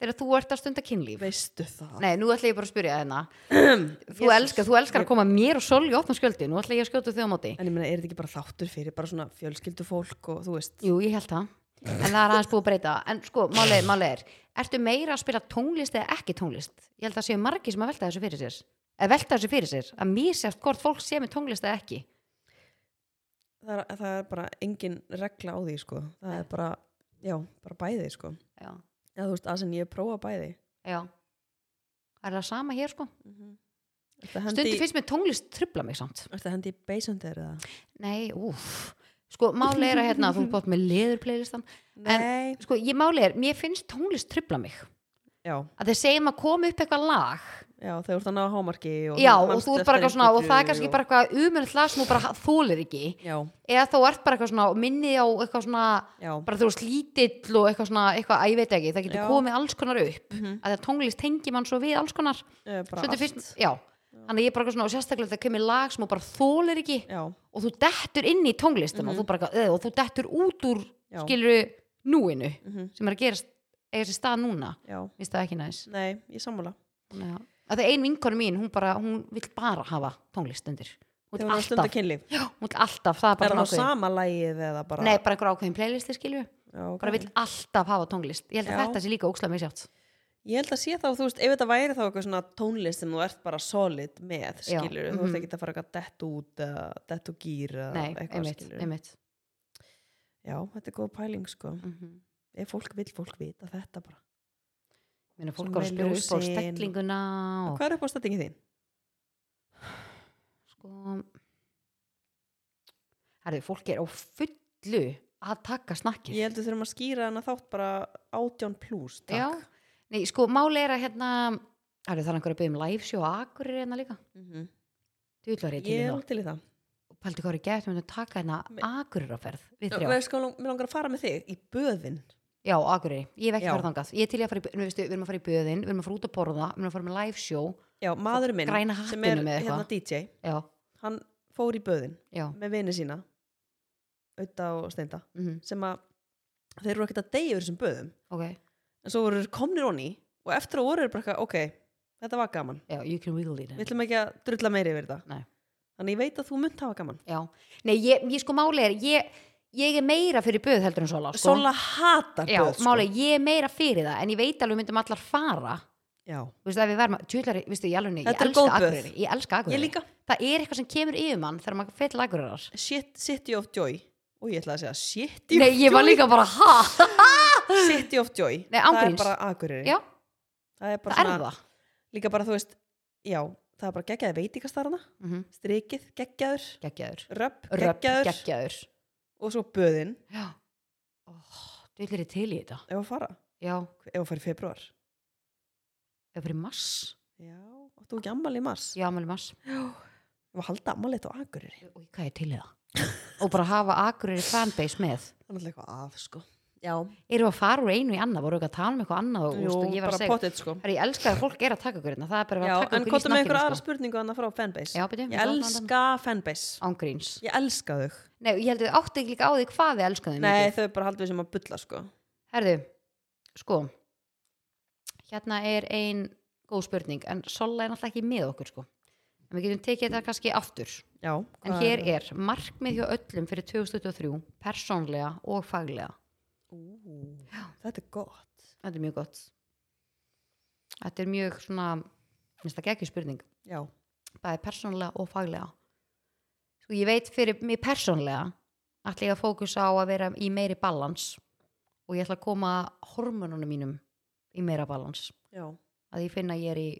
Speaker 1: Þegar þú ert að stunda kynlíf
Speaker 2: Veistu það?
Speaker 1: Nei, nú ætla ég bara að spyrja henni Þú
Speaker 2: Jesus.
Speaker 1: elskar, þú elskar
Speaker 2: Ég-
Speaker 1: að koma mér og solgi opna skjöldi Nú ætla ég að skjóta þau á móti
Speaker 2: *clears throat* En ég meina, er þetta ekki bara þáttur fyrir bara svona fjölskyldufólk og þú veist
Speaker 1: Jú, ég held það En það er aðeins búið að breyta En sko, málið máli er Ertu meira að spila tónlist eða ekki tónlist? Ég held að séu margir sem að velta þessu fyrir sér Að velta þessu fyrir sér Að mísjast hvort fólk sé með tónlist eða ekki
Speaker 2: það er, það er bara engin regla á því sko. það er bara, já, bara bæði sko.
Speaker 1: Já,
Speaker 2: eða þú veist, að sem ég prófa bæði
Speaker 1: já Það er það sama hér sko
Speaker 2: mm -hmm. Ertu að
Speaker 1: Stundu
Speaker 2: hendi,
Speaker 1: finnst mér tónlist trubla mig samt
Speaker 2: ertu að hendi í beisöndir eða?
Speaker 1: Nei, úf sko máli er að hérna þú er bótt með leður playlistan En-
Speaker 2: Nei,
Speaker 1: sko ég máli er, mér finnst tónlist trubla mig
Speaker 2: já,
Speaker 1: að þeir segja maður kom upp eitthvað lag
Speaker 2: já, þau ert að ná hámarki og
Speaker 1: já og þú
Speaker 2: manstu
Speaker 1: ert bara
Speaker 2: eftir
Speaker 1: eitthvað svona og það er
Speaker 2: einhverju
Speaker 1: kannski
Speaker 2: og-
Speaker 1: bara eitthvað umjönd lag sem þú bara þólir ekki
Speaker 2: Já,
Speaker 1: eða þú ert bara eitthvað svona og minnið á eitthvað svona
Speaker 2: já,
Speaker 1: bara þú veist lítill og eitthvað svona eitthvað að ég veit ekki, það getur
Speaker 2: Já.
Speaker 1: komið alls konar upp
Speaker 2: Mhm.
Speaker 1: að það tónlist tengi mann svo við alls konar
Speaker 2: eh, bara
Speaker 1: Stundum
Speaker 2: allt
Speaker 1: finnst, já, þannig að ég er bara eitthvað svona og sérstaklega það kemur lag sem þú bara þólir ekki
Speaker 2: Já,
Speaker 1: og þú dettur inn í tónlistina þú bara, eitthvað, "Ugh," og þú dettur út úr
Speaker 2: Mhm. já,
Speaker 1: skiluru núinu
Speaker 2: mhm,
Speaker 1: sem er að gerast eiga sér stað núna,
Speaker 2: já,
Speaker 1: finnst það ekki næs
Speaker 2: nei, ég sammála
Speaker 1: Þannig að- að það ein vinkonu mín, hún bara hún vill bara hafa tónlist undir hún
Speaker 2: Þegar
Speaker 1: vill
Speaker 2: hún er að stunda
Speaker 1: alltaf,
Speaker 2: kynlíf
Speaker 1: já, hún vill alltaf það er bara
Speaker 2: Er það
Speaker 1: svona ákveðin,
Speaker 2: sama lagið eða bara
Speaker 1: nei, bara einhver ákveðin playlisti skilju,
Speaker 2: já, ok.
Speaker 1: bara vill alltaf hafa tónlist ég held að
Speaker 2: Já.
Speaker 1: þetta sé líka ókslega mér sjátt
Speaker 2: Ég held að sé þá, þú veist, ef þetta væri þá eitthvað svona tónlist sem þú ert bara solid
Speaker 1: Já,
Speaker 2: með, skilur, þú
Speaker 1: mhm.
Speaker 2: ert ekki að fara eitthvað dett út, uh, dett og gýr eða
Speaker 1: nei,
Speaker 2: eitthvað,
Speaker 1: einmitt,
Speaker 2: skilurðu.
Speaker 1: einmitt
Speaker 2: Já, þetta er góð pæling, sko.
Speaker 1: mm -hmm.
Speaker 2: Ef fólk vill, fólk vita þetta bara.
Speaker 1: Minna, fólk
Speaker 2: Svona
Speaker 1: á að
Speaker 2: með
Speaker 1: spyrja upp á
Speaker 2: ljósin.
Speaker 1: steklinguna og
Speaker 2: Hvað er upp á stættingi þín?
Speaker 1: sko herðu, fólk er á fullu að taka snakkið
Speaker 2: Ég held við þurfum að skýra hana þátt bara 18 plus,
Speaker 1: já,
Speaker 2: takk.
Speaker 1: nei, sko máli er að hérna herðu, það er einhver að byggja um live show og akkurir hérna líka,
Speaker 2: Mhm.
Speaker 1: þú ætlar ég til
Speaker 2: Ég
Speaker 1: í
Speaker 2: er
Speaker 1: það
Speaker 2: til í það.
Speaker 1: og pældu hvað er gætt, við myndum taka hérna
Speaker 2: Me-
Speaker 1: akkurir á ferð, við
Speaker 2: Mér
Speaker 1: þrjá
Speaker 2: sko, mig langar að fara með þig í böðin.
Speaker 1: já, akkurir, ég hef ekki
Speaker 2: Já.
Speaker 1: farið þangað ég er til í að fara í, við, við erum að fara í böðin, við erum að fara út að borða við erum að fara með live show,
Speaker 2: Já, maður minn
Speaker 1: græna
Speaker 2: sem er
Speaker 1: hattinu með
Speaker 2: hérna
Speaker 1: eitthvað
Speaker 2: DJ,
Speaker 1: já,
Speaker 2: hann fór í böðin
Speaker 1: já,
Speaker 2: með vini sína, auðvitað og steinda,
Speaker 1: mhm,
Speaker 2: sem að þeir eru ekkert að deyja yfir þessum böðum.
Speaker 1: ok
Speaker 2: en svo voru þeir komnir onni og eftir að voru þeir bara eitthvað, ok þetta var gaman,
Speaker 1: já, you can wiggle it
Speaker 2: við ætlum ekki að drulla meiri yfir þetta
Speaker 1: Nei.
Speaker 2: þannig ég veit að þú munt hafa gaman
Speaker 1: já, nei, ég, ég sko máli er ég, ég er meira fyrir böð heldur en sola sko.
Speaker 2: Sola hatar
Speaker 1: Já,
Speaker 2: böð sko.
Speaker 1: máli, ég er meira fyrir það en ég veit alveg við myndum allar fara
Speaker 2: Já.
Speaker 1: Þú veist, ef við verðum, tjúlari, viðstu, ég alveg ég
Speaker 2: Þetta er
Speaker 1: elska
Speaker 2: góð böð.
Speaker 1: Akureyri, ég elska
Speaker 2: ég
Speaker 1: Akureyri
Speaker 2: líka,
Speaker 1: það er eitthvað sem kemur yfir mann þegar maður fyrir Akureyrar
Speaker 2: shit, City of Joy og ég ætla að segja City
Speaker 1: Nei,
Speaker 2: of
Speaker 1: ég var
Speaker 2: Joy
Speaker 1: líka bara, ha?
Speaker 2: City of Joy,
Speaker 1: Nei, án
Speaker 2: það er
Speaker 1: gríns.
Speaker 2: bara akureyri
Speaker 1: Já,
Speaker 2: það er bara
Speaker 1: það er
Speaker 2: svona,
Speaker 1: það
Speaker 2: líka bara þú veist já, það er bara geggjaði veitingastarana
Speaker 1: mm -hmm.
Speaker 2: strikið, geggjaður,
Speaker 1: Geggjaður,
Speaker 2: röpp,
Speaker 1: röpp,
Speaker 2: geggjaður
Speaker 1: geggjaður
Speaker 2: og svo böðin,
Speaker 1: Já, Ó, tjúlari til í þetta
Speaker 2: ef að fara
Speaker 1: Já,
Speaker 2: ef að fara í februar
Speaker 1: ef fyrir mars
Speaker 2: já, áttu ekki ammali í mars
Speaker 1: Já, mæli mars
Speaker 2: og halda ammalið á Akureyri
Speaker 1: Og hvað er til í það? Og bara hafa Akureyri fanbase með
Speaker 2: það er náttúrulega eitthvað að sko já,
Speaker 1: Erum við að fara úr einu í annað, voru við að tala um eitthvað annað og,
Speaker 2: Jú,
Speaker 1: Jú, og ég var
Speaker 2: bara
Speaker 1: að segja
Speaker 2: potið sko
Speaker 1: Herra, ég elska að fólk er að taka okkur hérna það er bara að
Speaker 2: já,
Speaker 1: vera að taka
Speaker 2: en
Speaker 1: okkur í
Speaker 2: kontum með einhverja
Speaker 1: snakkinu
Speaker 2: aðra
Speaker 1: sko.
Speaker 2: spurningu annað frá fanbase
Speaker 1: já, byrju,
Speaker 2: ég elska fanbase
Speaker 1: ángríns
Speaker 2: ég elska þau
Speaker 1: nei, ég held að þau áttu ekki líka á því hvað þau elskaðu
Speaker 2: nei,
Speaker 1: mikið
Speaker 2: þau bara haldið sem að bulla sko
Speaker 1: herðu, sko hérna er ein góð spurning en Sola er náttúrulega ekki með okkur sko en við getum tekið þetta kannski aftur
Speaker 2: já,
Speaker 1: en hér er markmið hjá öllum fyrir 2023 persónlega og faglega
Speaker 2: Ú, þetta er gott
Speaker 1: þetta er mjög gott þetta er mjög svona minnst það ekki spurning
Speaker 2: já,
Speaker 1: bæði persónlega og faglega sko ég veit fyrir mig persónlega ætla ég að fókusa á að vera í meiri balans og ég ætla að koma hormonunum mínum í meira balans
Speaker 2: já,
Speaker 1: að ég finna að ég er í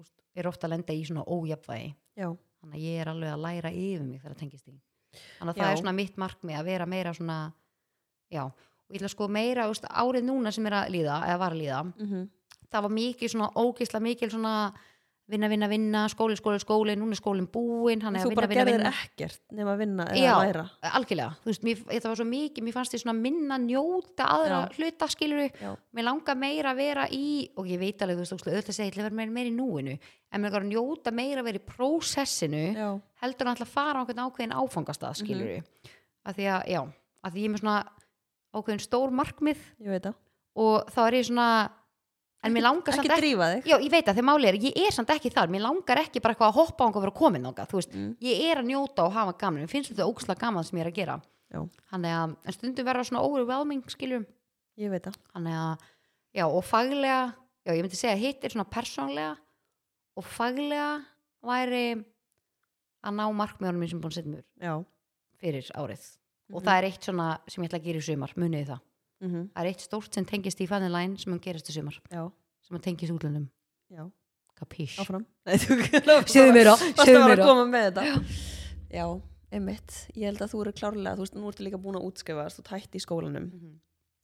Speaker 1: úst, er ofta að lenda í svona ójafvægi
Speaker 2: já
Speaker 1: þannig að ég er alveg að læra yfir mig þegar það tengist í þannig að
Speaker 2: Já.
Speaker 1: það er svona mitt markmið að vera meira svona já, og ég ætla sko meira úst, árið núna sem er að líða, eða var að líða
Speaker 2: Mhm.
Speaker 1: það var mikið svona ógisla mikil svona vinna, vinna, vinna, skóli, skóli, skóli núna er skólinn búinn, hann er að
Speaker 2: þú
Speaker 1: vinna,
Speaker 2: bara
Speaker 1: vinna,
Speaker 2: gerðir
Speaker 1: vinna
Speaker 2: ekkert nema að vinna
Speaker 1: Já.
Speaker 2: eða læra
Speaker 1: algjörlega, þú veist, mér, þetta var svo mikið mér fannst ég svona minna njóta aðra hluta skilur
Speaker 2: Já.
Speaker 1: mér langar meira að vera í og ég veit alveg, þú veist, ógeðslega auðvitað að segja ég ætla að vera meira, meira í núinu, en mér langar að njóta meira að vera í prósessinu
Speaker 2: já, Mhm.
Speaker 1: heldur en ætla að fara á einhvern ákveðin áfangastað skilur mm að því að, já, að því ég er með svona ákveðin stór markmið
Speaker 2: ég veit það
Speaker 1: og þá er ég svona en mér langar samt
Speaker 2: ekki drífa þig
Speaker 1: Já, ég veit að þeir máli er, ég er samt ekki þar, mér langar ekki bara eitthvað að hoppa á einhver fyrir að koma nokkað, þú veist,
Speaker 2: Mm.
Speaker 1: ég er að njóta og hafa gaman, mér finnst þetta ógslag gaman sem ég er að gera.
Speaker 2: Já.
Speaker 1: Þannig að, en stundum verða svona overwhelming, skiljum,
Speaker 2: ég veit það
Speaker 1: þannig að, já, og faglega, já, ég myndi segja að hitt er svona persónlega og faglega væri að ná markmiðunum minn sem búin að setja mér
Speaker 2: já,
Speaker 1: fyrir árið. Og
Speaker 2: Mhm.
Speaker 1: það er eitt svona sem ég ætla að gera í sumar, munið þið það.
Speaker 2: mm -hmm.
Speaker 1: Það er eitt stórt sem tengist í fæðinlæn sem mun gerast í sumar,
Speaker 2: já,
Speaker 1: sem mun tengist útlöndum.
Speaker 2: já,
Speaker 1: Kapís.
Speaker 2: áfram Nei, þú-
Speaker 1: Segðu mér á,
Speaker 2: Varstu
Speaker 1: segðu
Speaker 2: að
Speaker 1: mér
Speaker 2: vera
Speaker 1: á.
Speaker 2: að koma með þetta Já, Einmitt, ég held að þú eru klárlega, þú veist, nú ertu líka búin að útskrifast og tætt í skólanum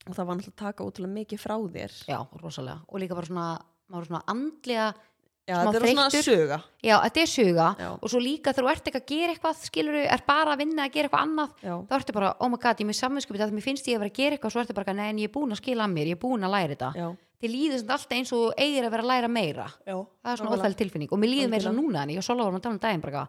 Speaker 2: og það var náttúrulega að taka útrúlega mikið frá þér.
Speaker 1: já, rosalega og líka bara svona, maður er svona andlega
Speaker 2: Já,
Speaker 1: Smá
Speaker 2: þetta er svona að
Speaker 1: þreyttur.
Speaker 2: söga.
Speaker 1: já, þetta er suga
Speaker 2: Já.
Speaker 1: og svo líka þegar þú ert ekki að gera eitthvað skilur þú, er bara að vinna að gera eitthvað annað
Speaker 2: Já,
Speaker 1: þá ertu bara, oh my god, ég er með samvinskupið að mér finnst ég að vera að gera eitthvað, svo ertu bara, nei, en ég er búin að skila að mér, ég er búin að læra þetta
Speaker 2: já,
Speaker 1: þið líður svona alltaf eins og þú eigir að vera að læra meira
Speaker 2: já.
Speaker 1: það er svona óþægileg tilfinning og mér líður meira
Speaker 2: Algjörlega.
Speaker 1: svona núna en ég og Sola vorum að tala um daginn bara eitthvað,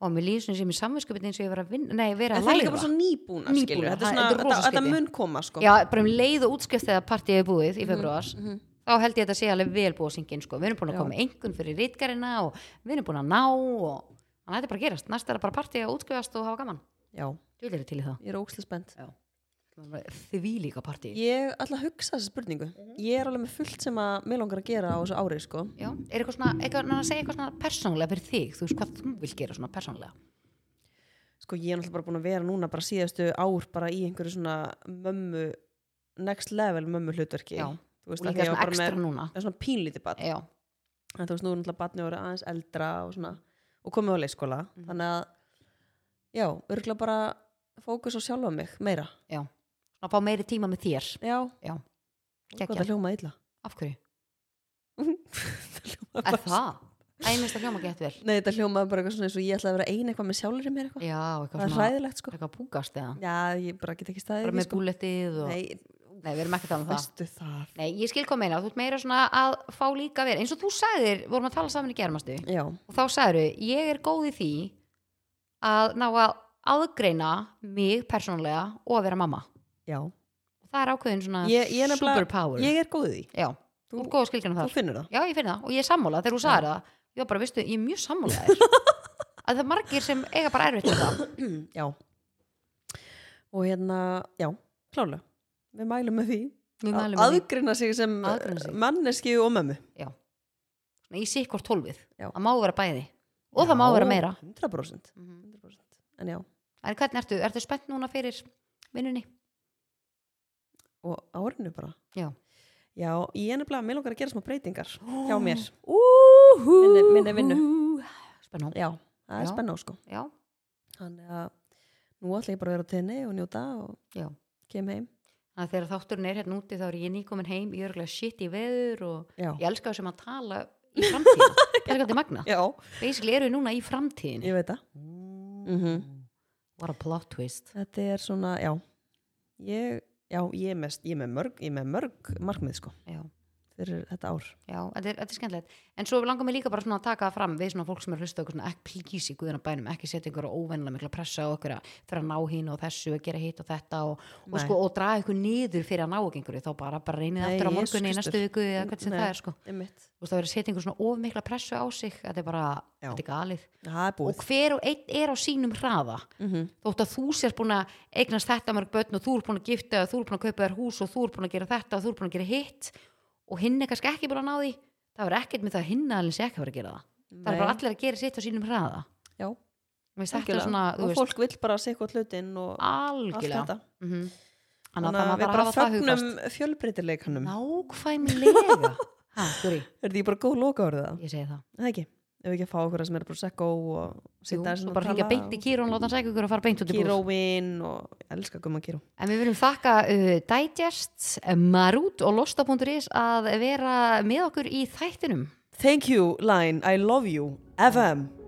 Speaker 1: og mér líður svona sem ég samvinskupið eins og ég vera að vinna, nei, vera
Speaker 2: En
Speaker 1: að
Speaker 2: það er líka
Speaker 1: læra
Speaker 2: bara svona nýbúna, skilur.
Speaker 1: Nýbúnar, það-
Speaker 2: Þetta er svona,
Speaker 1: þetta er
Speaker 2: þetta,
Speaker 1: rosa
Speaker 2: þetta
Speaker 1: skrítið.
Speaker 2: mun koma, sko.
Speaker 1: já, bara um leið og útskrift þegar partíið er búið í februar
Speaker 2: Mhm.
Speaker 1: þá held ég að þetta sé alveg vel búið að syngja inn sko. við erum búin að
Speaker 2: Já.
Speaker 1: koma einhvern fyrir rítgarina og við erum búin að ná og þannig að þetta er bara að gerast, næst er það bara partíið að útskrifast og hafa gaman,
Speaker 2: Já,
Speaker 1: þú er til í það
Speaker 2: ég er ókslega spennt.
Speaker 1: því líka partíið
Speaker 2: Ég ætla að hugsa þessa spurningu. Ég er alveg með fullt sem að mér langar að gera á þessu ári, sko.
Speaker 1: Já, er eitthvað svona, eitthvað, ná, að segja eitthvað svona persónulega fyrir þig, þú veist hvað þú vil gera svona persónulega
Speaker 2: Sko, ég er náttúrulega bara búin að vera núna bara síðastu ár bara í einhverju svona mömmu, next level mömmu hlutverki.
Speaker 1: Já,
Speaker 2: Þú veist,
Speaker 1: og
Speaker 2: af
Speaker 1: líka
Speaker 2: því að ég
Speaker 1: svona
Speaker 2: var bara
Speaker 1: ekstra
Speaker 2: með
Speaker 1: núna
Speaker 2: það er svona pínlítið barn.
Speaker 1: Já,
Speaker 2: en þú veist, nú er náttúrulega batni orðið aðeins eldra og svona, og komið á leikskóla
Speaker 1: Mhm.
Speaker 2: þannig að, já, örgulega bara fókus á sjálfa mig, meira
Speaker 1: að fá meiri tíma með þér
Speaker 2: já,
Speaker 1: Já.
Speaker 2: Úr,
Speaker 1: Geggjað.
Speaker 2: það hljóma illa *laughs*
Speaker 1: Af hverju?
Speaker 2: Það hljómaði
Speaker 1: Er
Speaker 2: bara-
Speaker 1: það? Æ, mér finnst það hljóma gett vel
Speaker 2: *laughs* nei, þetta hljómaði bara eitthvað svona eins og ég ætlaði að vera ein eitthvað með sjálfur mér eitthvað,
Speaker 1: Já, eitthvað
Speaker 2: það er
Speaker 1: svona
Speaker 2: hræðilegt sko
Speaker 1: Eitthvað púkast eða
Speaker 2: já, ég bara get ekki staðið
Speaker 1: Bara
Speaker 2: í því, sko.
Speaker 1: með búletið og Nei,
Speaker 2: nei,
Speaker 1: við erum ekki að tala um það
Speaker 2: veistu það
Speaker 1: Nei, ég skil kom meina, þú ert meira svona að fá líka verið eins og þú sagðir, vorum að tala saman í germastu
Speaker 2: já,
Speaker 1: og þá sagðir ég er góð í því að ná að aðgreina mig persónulega og að vera mamma
Speaker 2: já,
Speaker 1: og það er ákveðin svona
Speaker 2: Ég- ég er nefnilega-
Speaker 1: superpower
Speaker 2: ég er góð í því
Speaker 1: Já, þú
Speaker 2: Þú-
Speaker 1: ert góð að skilgjana
Speaker 2: þú
Speaker 1: þar
Speaker 2: finnur það
Speaker 1: Já, ég finn það og ég er sammála þegar þú sagðir það Ég var bara, veistu, ég er mjög sammála
Speaker 2: *laughs*
Speaker 1: þér að það er margir sem eiga bara erfitt með það
Speaker 2: já Mm, og hérna, já, klálega við mælum með því
Speaker 1: Við
Speaker 2: að
Speaker 1: mælum að,
Speaker 2: aðgrina sig sem
Speaker 1: Aðgreina sig.
Speaker 2: manneski og mömmu
Speaker 1: að, í sikkort tólfið
Speaker 2: Já.
Speaker 1: Það má vera bæði og það má vera meira
Speaker 2: 100%, 100%. en já,
Speaker 1: En hvernig ertu, ertu spennt núna fyrir vinnunni?
Speaker 2: og árinu bara
Speaker 1: Já.
Speaker 2: já, ég er nefnilega, mér langar að gera smá breytingar hjá mér,
Speaker 1: Úhú
Speaker 2: Minni- minni vinnu.
Speaker 1: Spennu,
Speaker 2: já, það er
Speaker 1: Já.
Speaker 2: spenna sko
Speaker 1: já,
Speaker 2: þannig að nú ætla ég bara að vera á tenni og njóta og
Speaker 1: Já.
Speaker 2: kem heim
Speaker 1: þannig að þegar þátturinn er hérna úti þá er ég nýkomin heim, ég er örgulega shit í veður og
Speaker 2: já,
Speaker 1: ég elska þessum að tala í framtíðin,
Speaker 2: *laughs*
Speaker 1: það er gæti magna
Speaker 2: já.
Speaker 1: Basically eru við núna í framtíðin
Speaker 2: ég veit það Mhm.
Speaker 1: What a plot twist
Speaker 2: þetta er svona, já ég, já, ég er, mest, ég er með mörg ég er með mörg markmið sko
Speaker 1: Já
Speaker 2: fyrir þetta ár
Speaker 1: Já, þetta er, þetta er skemmtilegt. En svo langar mér líka bara svona að taka það fram við svona fólk sem er hlusta okkur svona ekki plís í guðina bænum, ekki setja einhverja óvennilega mikla pressa á okkur að fyrir að ná hínu og þessu að gera hitt og þetta og,
Speaker 2: Nei.
Speaker 1: og sko og draga ykkur niður fyrir að ná ekki einhverju þá bara, bara reynið
Speaker 2: Nei,
Speaker 1: aftur á
Speaker 2: Jesús
Speaker 1: morgunni í
Speaker 2: Kristur.
Speaker 1: næstu viku eða hvernig sem
Speaker 2: Nei.
Speaker 1: það er sko.
Speaker 2: Einmitt.
Speaker 1: Þú veist það verið að setja einhver svona of mikla pressu á sig, þetta er bara,
Speaker 2: Já.
Speaker 1: þetta er galið.
Speaker 2: það er búið
Speaker 1: Og hver og einn er á sínum hraða
Speaker 2: mm -hmm.
Speaker 1: þótt að þú sér búin að eignast þetta mörg börn og þú er búin að gifta og þú er búin að kaupa þér hús og þú er búin að gera þetta og þú er búin að gera hitt og hinn er kannski ekki búin að ná því það er ekkert með það að hinn aðeins ekki að vera að gera það það er bara allir að gera sitt á sínum hraða
Speaker 2: já,
Speaker 1: Mér finnst þetta er
Speaker 2: algjörlega.
Speaker 1: svona, þú
Speaker 2: og
Speaker 1: veist,
Speaker 2: fólk vill bara segja hvort hlutin og allt
Speaker 1: algjörlega
Speaker 2: þetta
Speaker 1: mm -hmm. þannig að
Speaker 2: Þannig
Speaker 1: það
Speaker 2: að
Speaker 1: maður
Speaker 2: við
Speaker 1: bara
Speaker 2: bara
Speaker 1: hafa það
Speaker 2: fögnum
Speaker 1: hugast
Speaker 2: fjölbreytileikanum.
Speaker 1: nákvæmlega ha, Guri,
Speaker 2: Er því bara góð loka orðið það?
Speaker 1: ég segi það
Speaker 2: Það ekki? Ef við ekki að fá okkur að sem er prosecco og
Speaker 1: Jú,
Speaker 2: sitja
Speaker 1: svo bara hringja beint í Kírón, láta hann segja ykkur og fara beint út í búð
Speaker 2: kíróin og ég elska gumma kíró.
Speaker 1: En við viljum þakka uh, Digest, Marút og Losta.is að vera með okkur í þættinum
Speaker 2: Thank you, Line, I love you, FM.